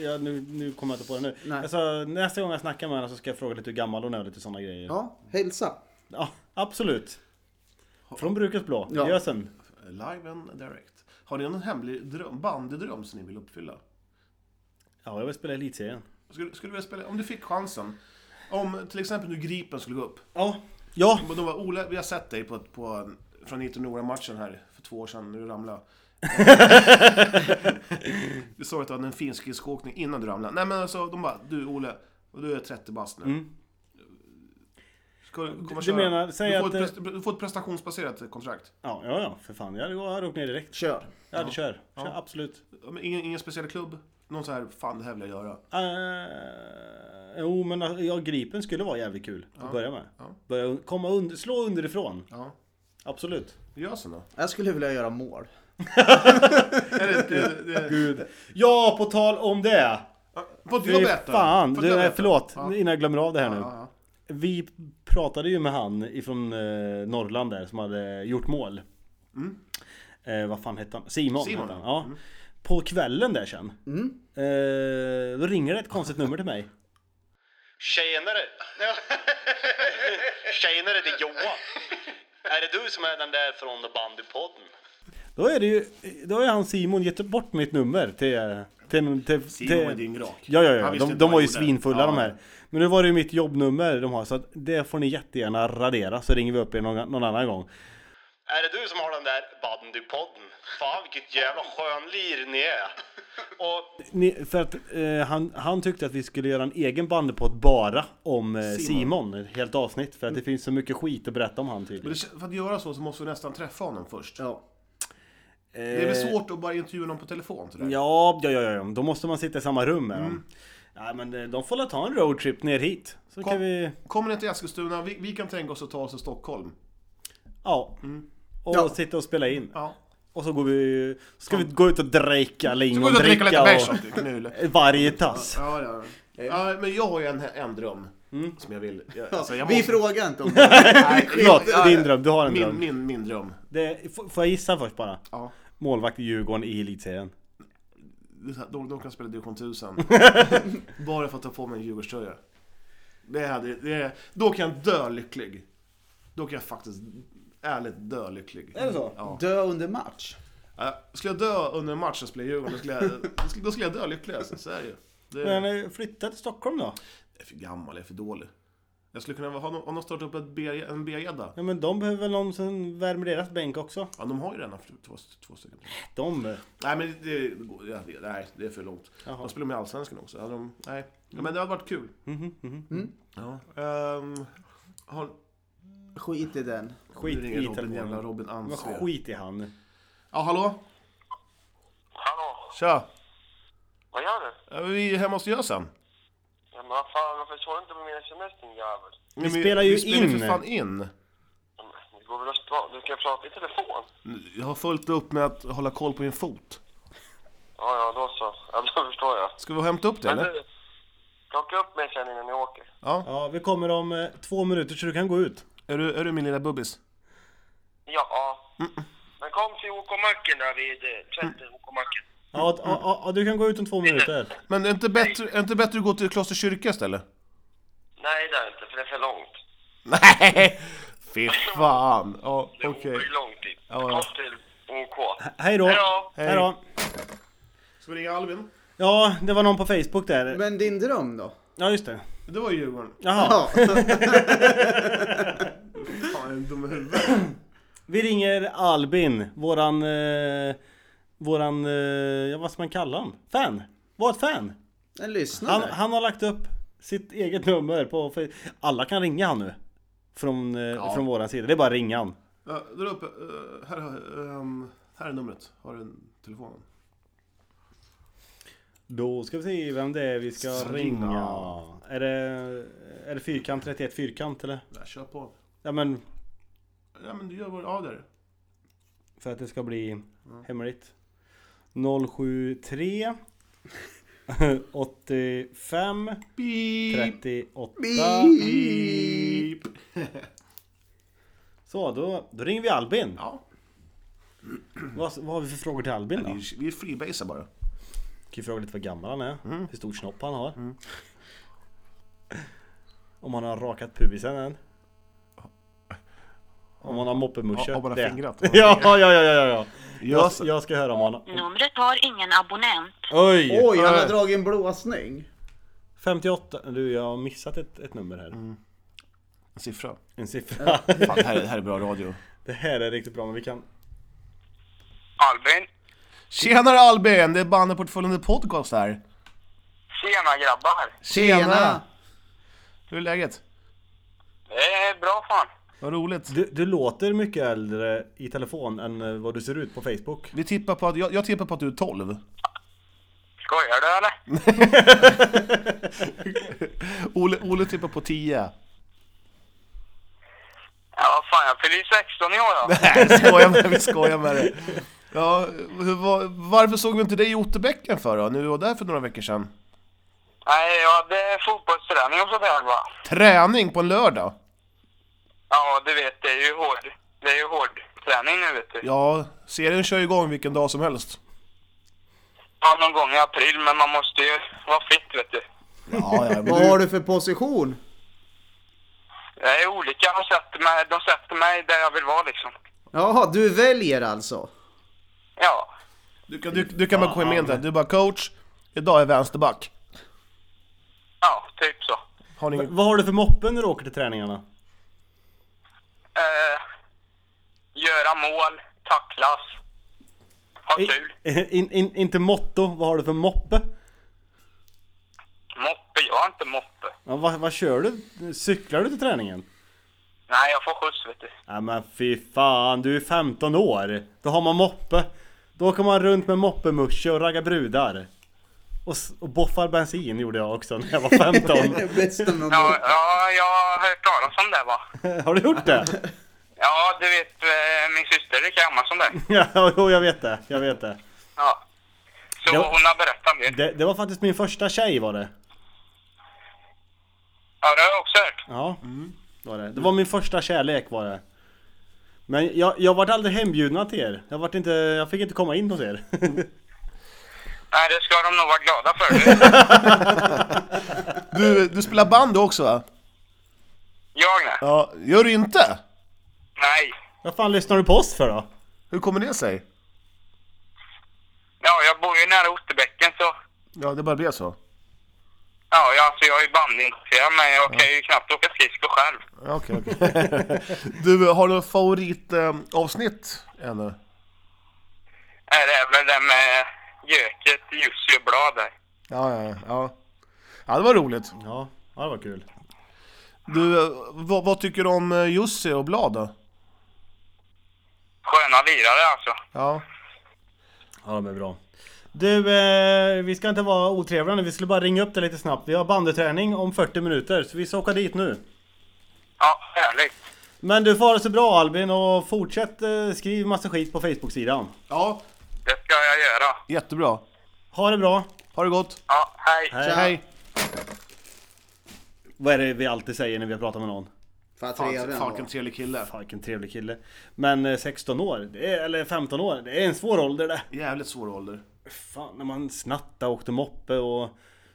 A: ja nu, nu kommer jag inte på det nu.
B: Nej.
A: Jag sa, nästa gång jag snackar med henne så ska jag fråga lite hur gammal hon är och lite sådana grejer. Ja.
B: Ja, hälsa.
A: absolut. Från brukets blå.
B: Ja.
A: Ja. Gör sen.
C: Eh, Live and direct. Har ni någon hemlig dröm, bandydröm som ni vill uppfylla?
A: Ja, jag vill spela Elitserien.
C: Skulle, skulle du vilja spela, om du fick chansen. Om till exempel nu Gripen skulle gå upp.
A: Ja. Ja.
C: Men de var, Ola, vi har sett dig på, på, från 19 matchen här för två år sedan när du ramlade. Eh, du sa att du hade en finsk skridskoåkning innan du ramlade. Nej men alltså, de bara, du Ole, och du är 30 bast nu. Ska du komma och
A: Mm. Du
C: köra?
A: menar, säg
C: du, får
A: att,
C: ett, pres- du får ett prestationsbaserat kontrakt.
A: Ja, ja, ja, för fan. Jag hade, jag hade åkt ner direkt.
B: Kör.
A: Jag hade kör. kör. Absolut.
C: Ja, men Ingen, ingen speciell klubb? Någon så här, fan det här vill jag göra.
A: Uh, jo, men alltså, ja, Gripen skulle vara jävligt kul att börja med.
C: Ja.
A: Börja un- komma under, slå underifrån.
C: Ja,
A: Absolut.
C: gör så då.
B: Jag skulle vilja göra mål.
C: Är det, det, det,
A: Gud. Ja, på tal om det!
C: Ja, får inte jag
A: Fy
C: berätta?
A: fan!
C: Får inte jag
A: Du, nej,
C: berätta?
A: förlåt,
C: Ja.
A: innan jag glömmer av det här
C: Ja,
A: nu.
C: ja,
A: Vi pratade ju med han ifrån eh, Norrland där som hade gjort mål. Eh, vad fan hette han? Simon.
C: Mm. Simon, Mm.
A: Hette han. Ja. På kvällen där sen. Eh, då ringer det ett konstigt nummer till mig. Tjenare! Tjenare, det är Johan. Är det du som är den där från Bandypodden? Då är det ju, då är han Simon gett bort mitt nummer till... till, till,
C: Simon
A: till
C: var dyngrak.
A: Ja, ja,
C: Han
A: ja.
C: visste
A: De,
C: inte
A: de
C: vad
A: var ju
C: han gjorde.
A: svinfulla
C: Ja,
A: de här. Men nu var det ju mitt jobbnummer de har så att det får ni jättegärna radera så ringer vi upp er någon, någon annan gång. Är det du som har den där bandypodden? Fan vilket jävla skönlir ni är! Och... Ni, för att eh, han, han tyckte att vi skulle göra en egen bandypodd bara om eh, Simon. ett helt avsnitt. För att det finns så mycket skit att berätta om han
C: Men
A: tydligen.
C: det, kän- för att göra så så måste vi nästan träffa honom först.
B: Ja.
C: Det är väl svårt att bara intervjua någon på telefon sådär.
A: Eh, Ja, ja, ja, ja, då måste man sitta i samma rum med
C: Mm.
A: dem. Nej men eh, de får väl ta en roadtrip ner hit. Så
C: Kom.
A: kan vi...
C: Kommer ni till Eskilstuna, vi, vi kan tänka oss att ta oss till Stockholm.
A: Ja. Och
B: Ja.
A: sitta och spela in.
C: Mm. Ja.
A: Och så går vi... Ska vi gå ut och dricka
C: Gå ut och dricka lite
A: lingondricka
C: bärs
A: och...
C: och knul.
A: Varje tass.
C: Ja, ja. ja, men jag har ju en, en dröm.
A: Mm.
C: Som jag vill. Jag, alltså, jag
B: Vi
C: måste,
B: frågar inte om det.
A: Förlåt, din dröm. Du har en
C: min,
A: dröm.
C: min, min dröm.
A: Det, f- får jag gissa först bara?
C: Ja.
A: Målvakt i Djurgården i Elitserien.
C: De, de kan spela division 1000. bara för att ta på mig en Djurgårdströja. Det hade, det, då kan jag dö lycklig. Då kan jag faktiskt ärligt dö lycklig.
A: Är det så?
C: Ja.
B: Dö under match.
C: Ja, skulle jag dö under en match och spela i Djurgården, då skulle jag, då skulle- då skulle jag dö lycklig alltså, så är det ju. Det är,
A: Men eh, flytta till Stockholm då?
C: jag är för gammal, jag är för dålig. Jag skulle kunna, ha någon, om de startar upp ett B, en B-gädda.
A: Ja men de behöver väl någon som värmer deras bänk också?
C: Ja, de har ju redan två, två stycken.
A: De... eh,
C: Nej, men det, det, går- ja, det, nej, det är för långt.
A: Jaha.
C: De spelar med i Allsvenskan också. Hade de, nej. Ja, men det hade varit kul.
A: Mm,
C: Ja. Ehm, har,
B: Skit i den.
A: Skit
C: nu ringer
A: i
C: Robin, jävla
A: telefonen.
C: Robin
A: Vad
C: Ansve.
A: skit i han.
C: Ja, hallå?
E: Hallå,
C: Tja!
E: vad gör du?
C: Ja, Vi är hemma hos Gösen.
E: Ja, men vad fan, varför svarar du inte på min sms din jävel?
C: Vi,
A: spelar ju
C: vi spelar
A: in.
C: för fan in.
E: Ja, men Det går väl att prata, du kan prata i telefon?
C: Jag har fullt upp med att hålla koll på min fot.
E: Ja, ja, då så. Ja, då förstår jag.
C: Ska vi hämta upp det
E: Men
C: eller?
E: du, plocka upp mig sen innan ni åker.
A: Ja, vi kommer om eh, två minuter så du kan gå ut.
C: Är du, är du min lilla bubbis?
E: Ja.
C: Mm.
E: Men kom till OK-macken där vid eh, tvätten, OK-macken.
A: Ja, ja, ja, ja, du kan gå ut om två minuter.
C: Men är inte bättre, är inte bättre att gå till Kloster kyrka istället?
E: Nej, det är inte, för det är för långt.
C: Nej! Fy fan! Ja,
E: Det är
C: okej.
E: okay. långt dit.
C: Ja,
E: Kom
C: ja.
E: till OK.
A: Hej då!
E: Hej då.
A: Hej då!
C: Ska vi ringa Alvin?
A: Ja, det var någon på Facebook där.
B: Men din dröm då?
A: Ja, just det.
C: Det var ju Djurgården.
A: Jaha.
B: Ja.
C: Fan, jag är dum i huvudet.
A: Vi ringer Albin, våran... Eh, våran... Eh, ja, vad ska man kalla han? Fan! Var ett fan!
B: En
A: Han,
B: lyssnare.
A: han har lagt upp sitt eget nummer på... Fe- Alla kan ringa han nu. Från, eh, från våran sida. Det är bara att ringa han.
C: Ja, dra upp, eh, här, har- ehm, här är numret. Har du telefonen?
A: Då ska vi se vem det är vi ska
C: Ringa.
A: ringa. Är det, är det fyrkant 31 fyrkant eller?
C: Nej, kör på.
A: Ja men
C: Ja, men du gör vad av där.
A: för att det ska bli hemligt. 073 85
C: Beep,
A: 38
C: beep.
A: Så då, då ringer vi Albin.
C: Ja,
A: Vad, vad har vi för frågor till Albin då?
C: vi, vi freebasar bara.
A: Kan ju fråga lite vad gammal han är,
C: Mm.
A: hur stor snopp han har. Om han har rakat pubisen än. Om han har moppemusche.
C: Har- har bara
A: det.
C: fingrat.
A: ja, ja, ja, ja, ja, ja. Jag,
C: Just det.
A: jag ska höra om han har...
G: Numret har ingen abonnent.
A: Oj!
B: Oj, han har
A: Äh,
B: dragit en blåsning.
A: 58. Du, jag har missat ett, ett nummer här.
C: En siffra.
A: En siffra.
C: Mm. Fan, det här, är- det här är bra radio.
A: det här är riktigt bra, men vi kan...
E: Albin.
C: Tjenare Albin! Det är Banneportföljen The Podcast här.
E: Tjena grabbar.
B: Tjena!
C: Hur är läget?
E: Det är bra fan.
C: Vad roligt.
A: Du, du låter mycket äldre i telefon än eh, vad du ser ut på Facebook.
C: Vi tippar på att, jag, jag tippar på att du är 12.
E: Skojar du eller?
C: Ole, Ole tippar på 10.
E: Ja vad fan jag fyller ju 16 i år då.
C: Nej, vi skojar med det, vi skojar med det. Ja, hur, var, varför såg vi inte dig i Otterbäcken för då? När vi var där för några veckor sedan.
E: Nej jag hade fotbollsträning och sådär va.
C: Träning på en lördag?
E: Ja du vet det är ju hård. Det är ju hård träning nu vet du.
C: Ja, serien kör igång vilken dag som helst.
E: Ja, någon gång i april, men man måste ju vara fit, vet du.
C: Ja, ja, men
B: Vad har
C: du,
B: du för position?
E: Jag är olika, de sätter, mig, de sätter mig där jag vill vara liksom.
B: Jaha, du väljer alltså?
E: Ja,
C: du, kan- du, du kan bara komma in där. Du bara coach, idag är vänsterback.
E: ja, typ så.
C: Har ni ingen...
A: Vad har du för moppe när du åker till träningarna?
E: Eh, göra mål, tacklas, ha kul.
A: In, in, inte motto, vad har du för moppe?
E: Moppe, jag har inte moppe.
A: Ja, vad, vad kör du? Cyklar du till träningen?
E: Nej, jag får skjuts, vet du.
A: Nej men fy fan, du är 15 år! Då har man moppe! Då åker man runt med moppemusche och raggar brudar! Och, s- och boffar bensin gjorde jag också när jag var 15!
B: Bästa någon...
C: Mm.
E: Ja, ja jag har hört talas om det, va.
A: har du gjort det?
E: Ja, du vet, eh, min syster är gammal som det.
A: Ja, jo, jag vet det, jag vet det.
E: Ja. Så
A: Ja.
E: hon har berättat mer.
A: det. Det var faktiskt min första tjej var det.
E: Ja, det har jag också hört.
A: Ja, var det. Det var min första kärlek var det. Men jag, jag vart aldrig hembjudna till er. Jag, vart inte, jag fick inte komma in hos er.
E: Nej, det ska de nog vara glada för. Du.
C: du, du spelar band du också va?
E: Jag, nej.
C: Ja, gör du inte?
E: Nej.
A: Vad fan lyssnar du på oss för då?
C: Hur kommer det sig?
E: Ja, jag bor ju nära Otterbäcken så...
C: Ja, det bara blev så.
E: Ja, jag, alltså jag är ju bandintresserad men jag kan ju knappt åka skridskor själv.
C: Ja, Okej, okej. Du, har du något favoritavsnitt eh, ännu?
E: Nej, Det är väl det med göket, Jussi och Blad där.
C: Ja, ja, ja. Ja, det var roligt.
A: Ja, ja det var kul.
C: Du, eh, vad, vad tycker du om eh, Jussi och Blad då?
E: Sköna lirare alltså.
C: Ja.
A: Ja, de är bra. Du, eh, vi ska inte vara otrevliga nu. Vi skulle bara ringa upp dig lite snabbt. Vi har bandeträning om 40 minuter, så vi ska åka dit nu.
E: Ja, härligt.
A: Men du får ha det så bra Albin och fortsätt eh, skriv massa skit på Facebook-sidan.
C: Ja,
E: Det ska jag göra.
C: jättebra.
A: Ha det bra!
C: Ha det gott.
E: Ja, hej.
C: Hej.
A: Vad är det vi alltid säger när vi har pratat med någon?
B: Fan,
C: Fan,
B: trevlig
C: fan,
B: ändå.
C: vilken trevlig kille.
A: Fan vilken trevlig kille. Men eh, 16 år, det är, eller 15 år, det är en svår ålder det.
C: Jävligt svår ålder.
A: Fan, när man snattade, åkte moppe och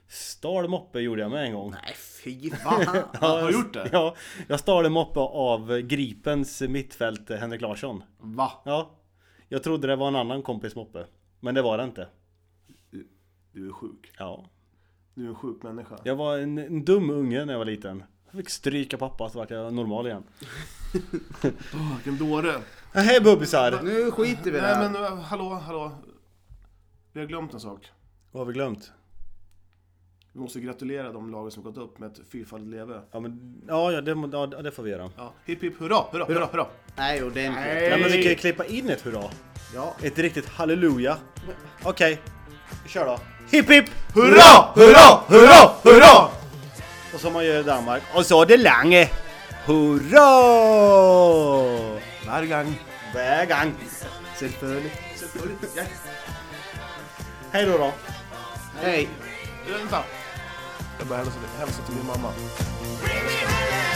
A: stal moppe gjorde jag med en gång.
B: Nej, fy fan.
A: Ja,
C: har
A: jag-
C: du gjort det?
A: Ja, jag stal en moppe av Gripens mittfält eh, Henrik Larsson.
C: Va?
A: Ja, jag trodde det var en annan kompis moppe. Men det var det inte.
C: Du är sjuk.
A: Ja.
C: Du är en sjuk människa.
A: Jag var en, en dum unge när jag var liten. Jag fick stryka pappa så vart jag normal igen. Äh,
C: Åh, vilken dåre.
A: Hej bubbisar!
B: Nu skiter vi i det
C: Nej
B: här.
C: men eh, hallå, hallå. Vi har glömt en sak.
A: Vad har vi glömt?
C: Vi måste gratulera de lagen som gått upp med ett fyrfaldigt leve.
A: Ja, men, ja, ja, det, må- ja det får vi göra.
C: Ja, hipp hipp hurra, hurra, hurra, hurra.
B: Nej, ordentligt.
A: Ja, men vi kan ju klippa in ett hurra.
B: Ja.
A: Ett riktigt halleluja. Okej, kör då. Hipp hipp!
C: Hurra, hurra, hurra, hurra!
A: Och som man gör i Danmark. Och så det lange. Hurra!
C: Varje gång.
A: Hver gang.
B: Selvfølgelig.
A: Hej då då.
B: Hej.
C: Vänta. Jag bara hälsa till, hälsa till min mamma.
D: Bring me the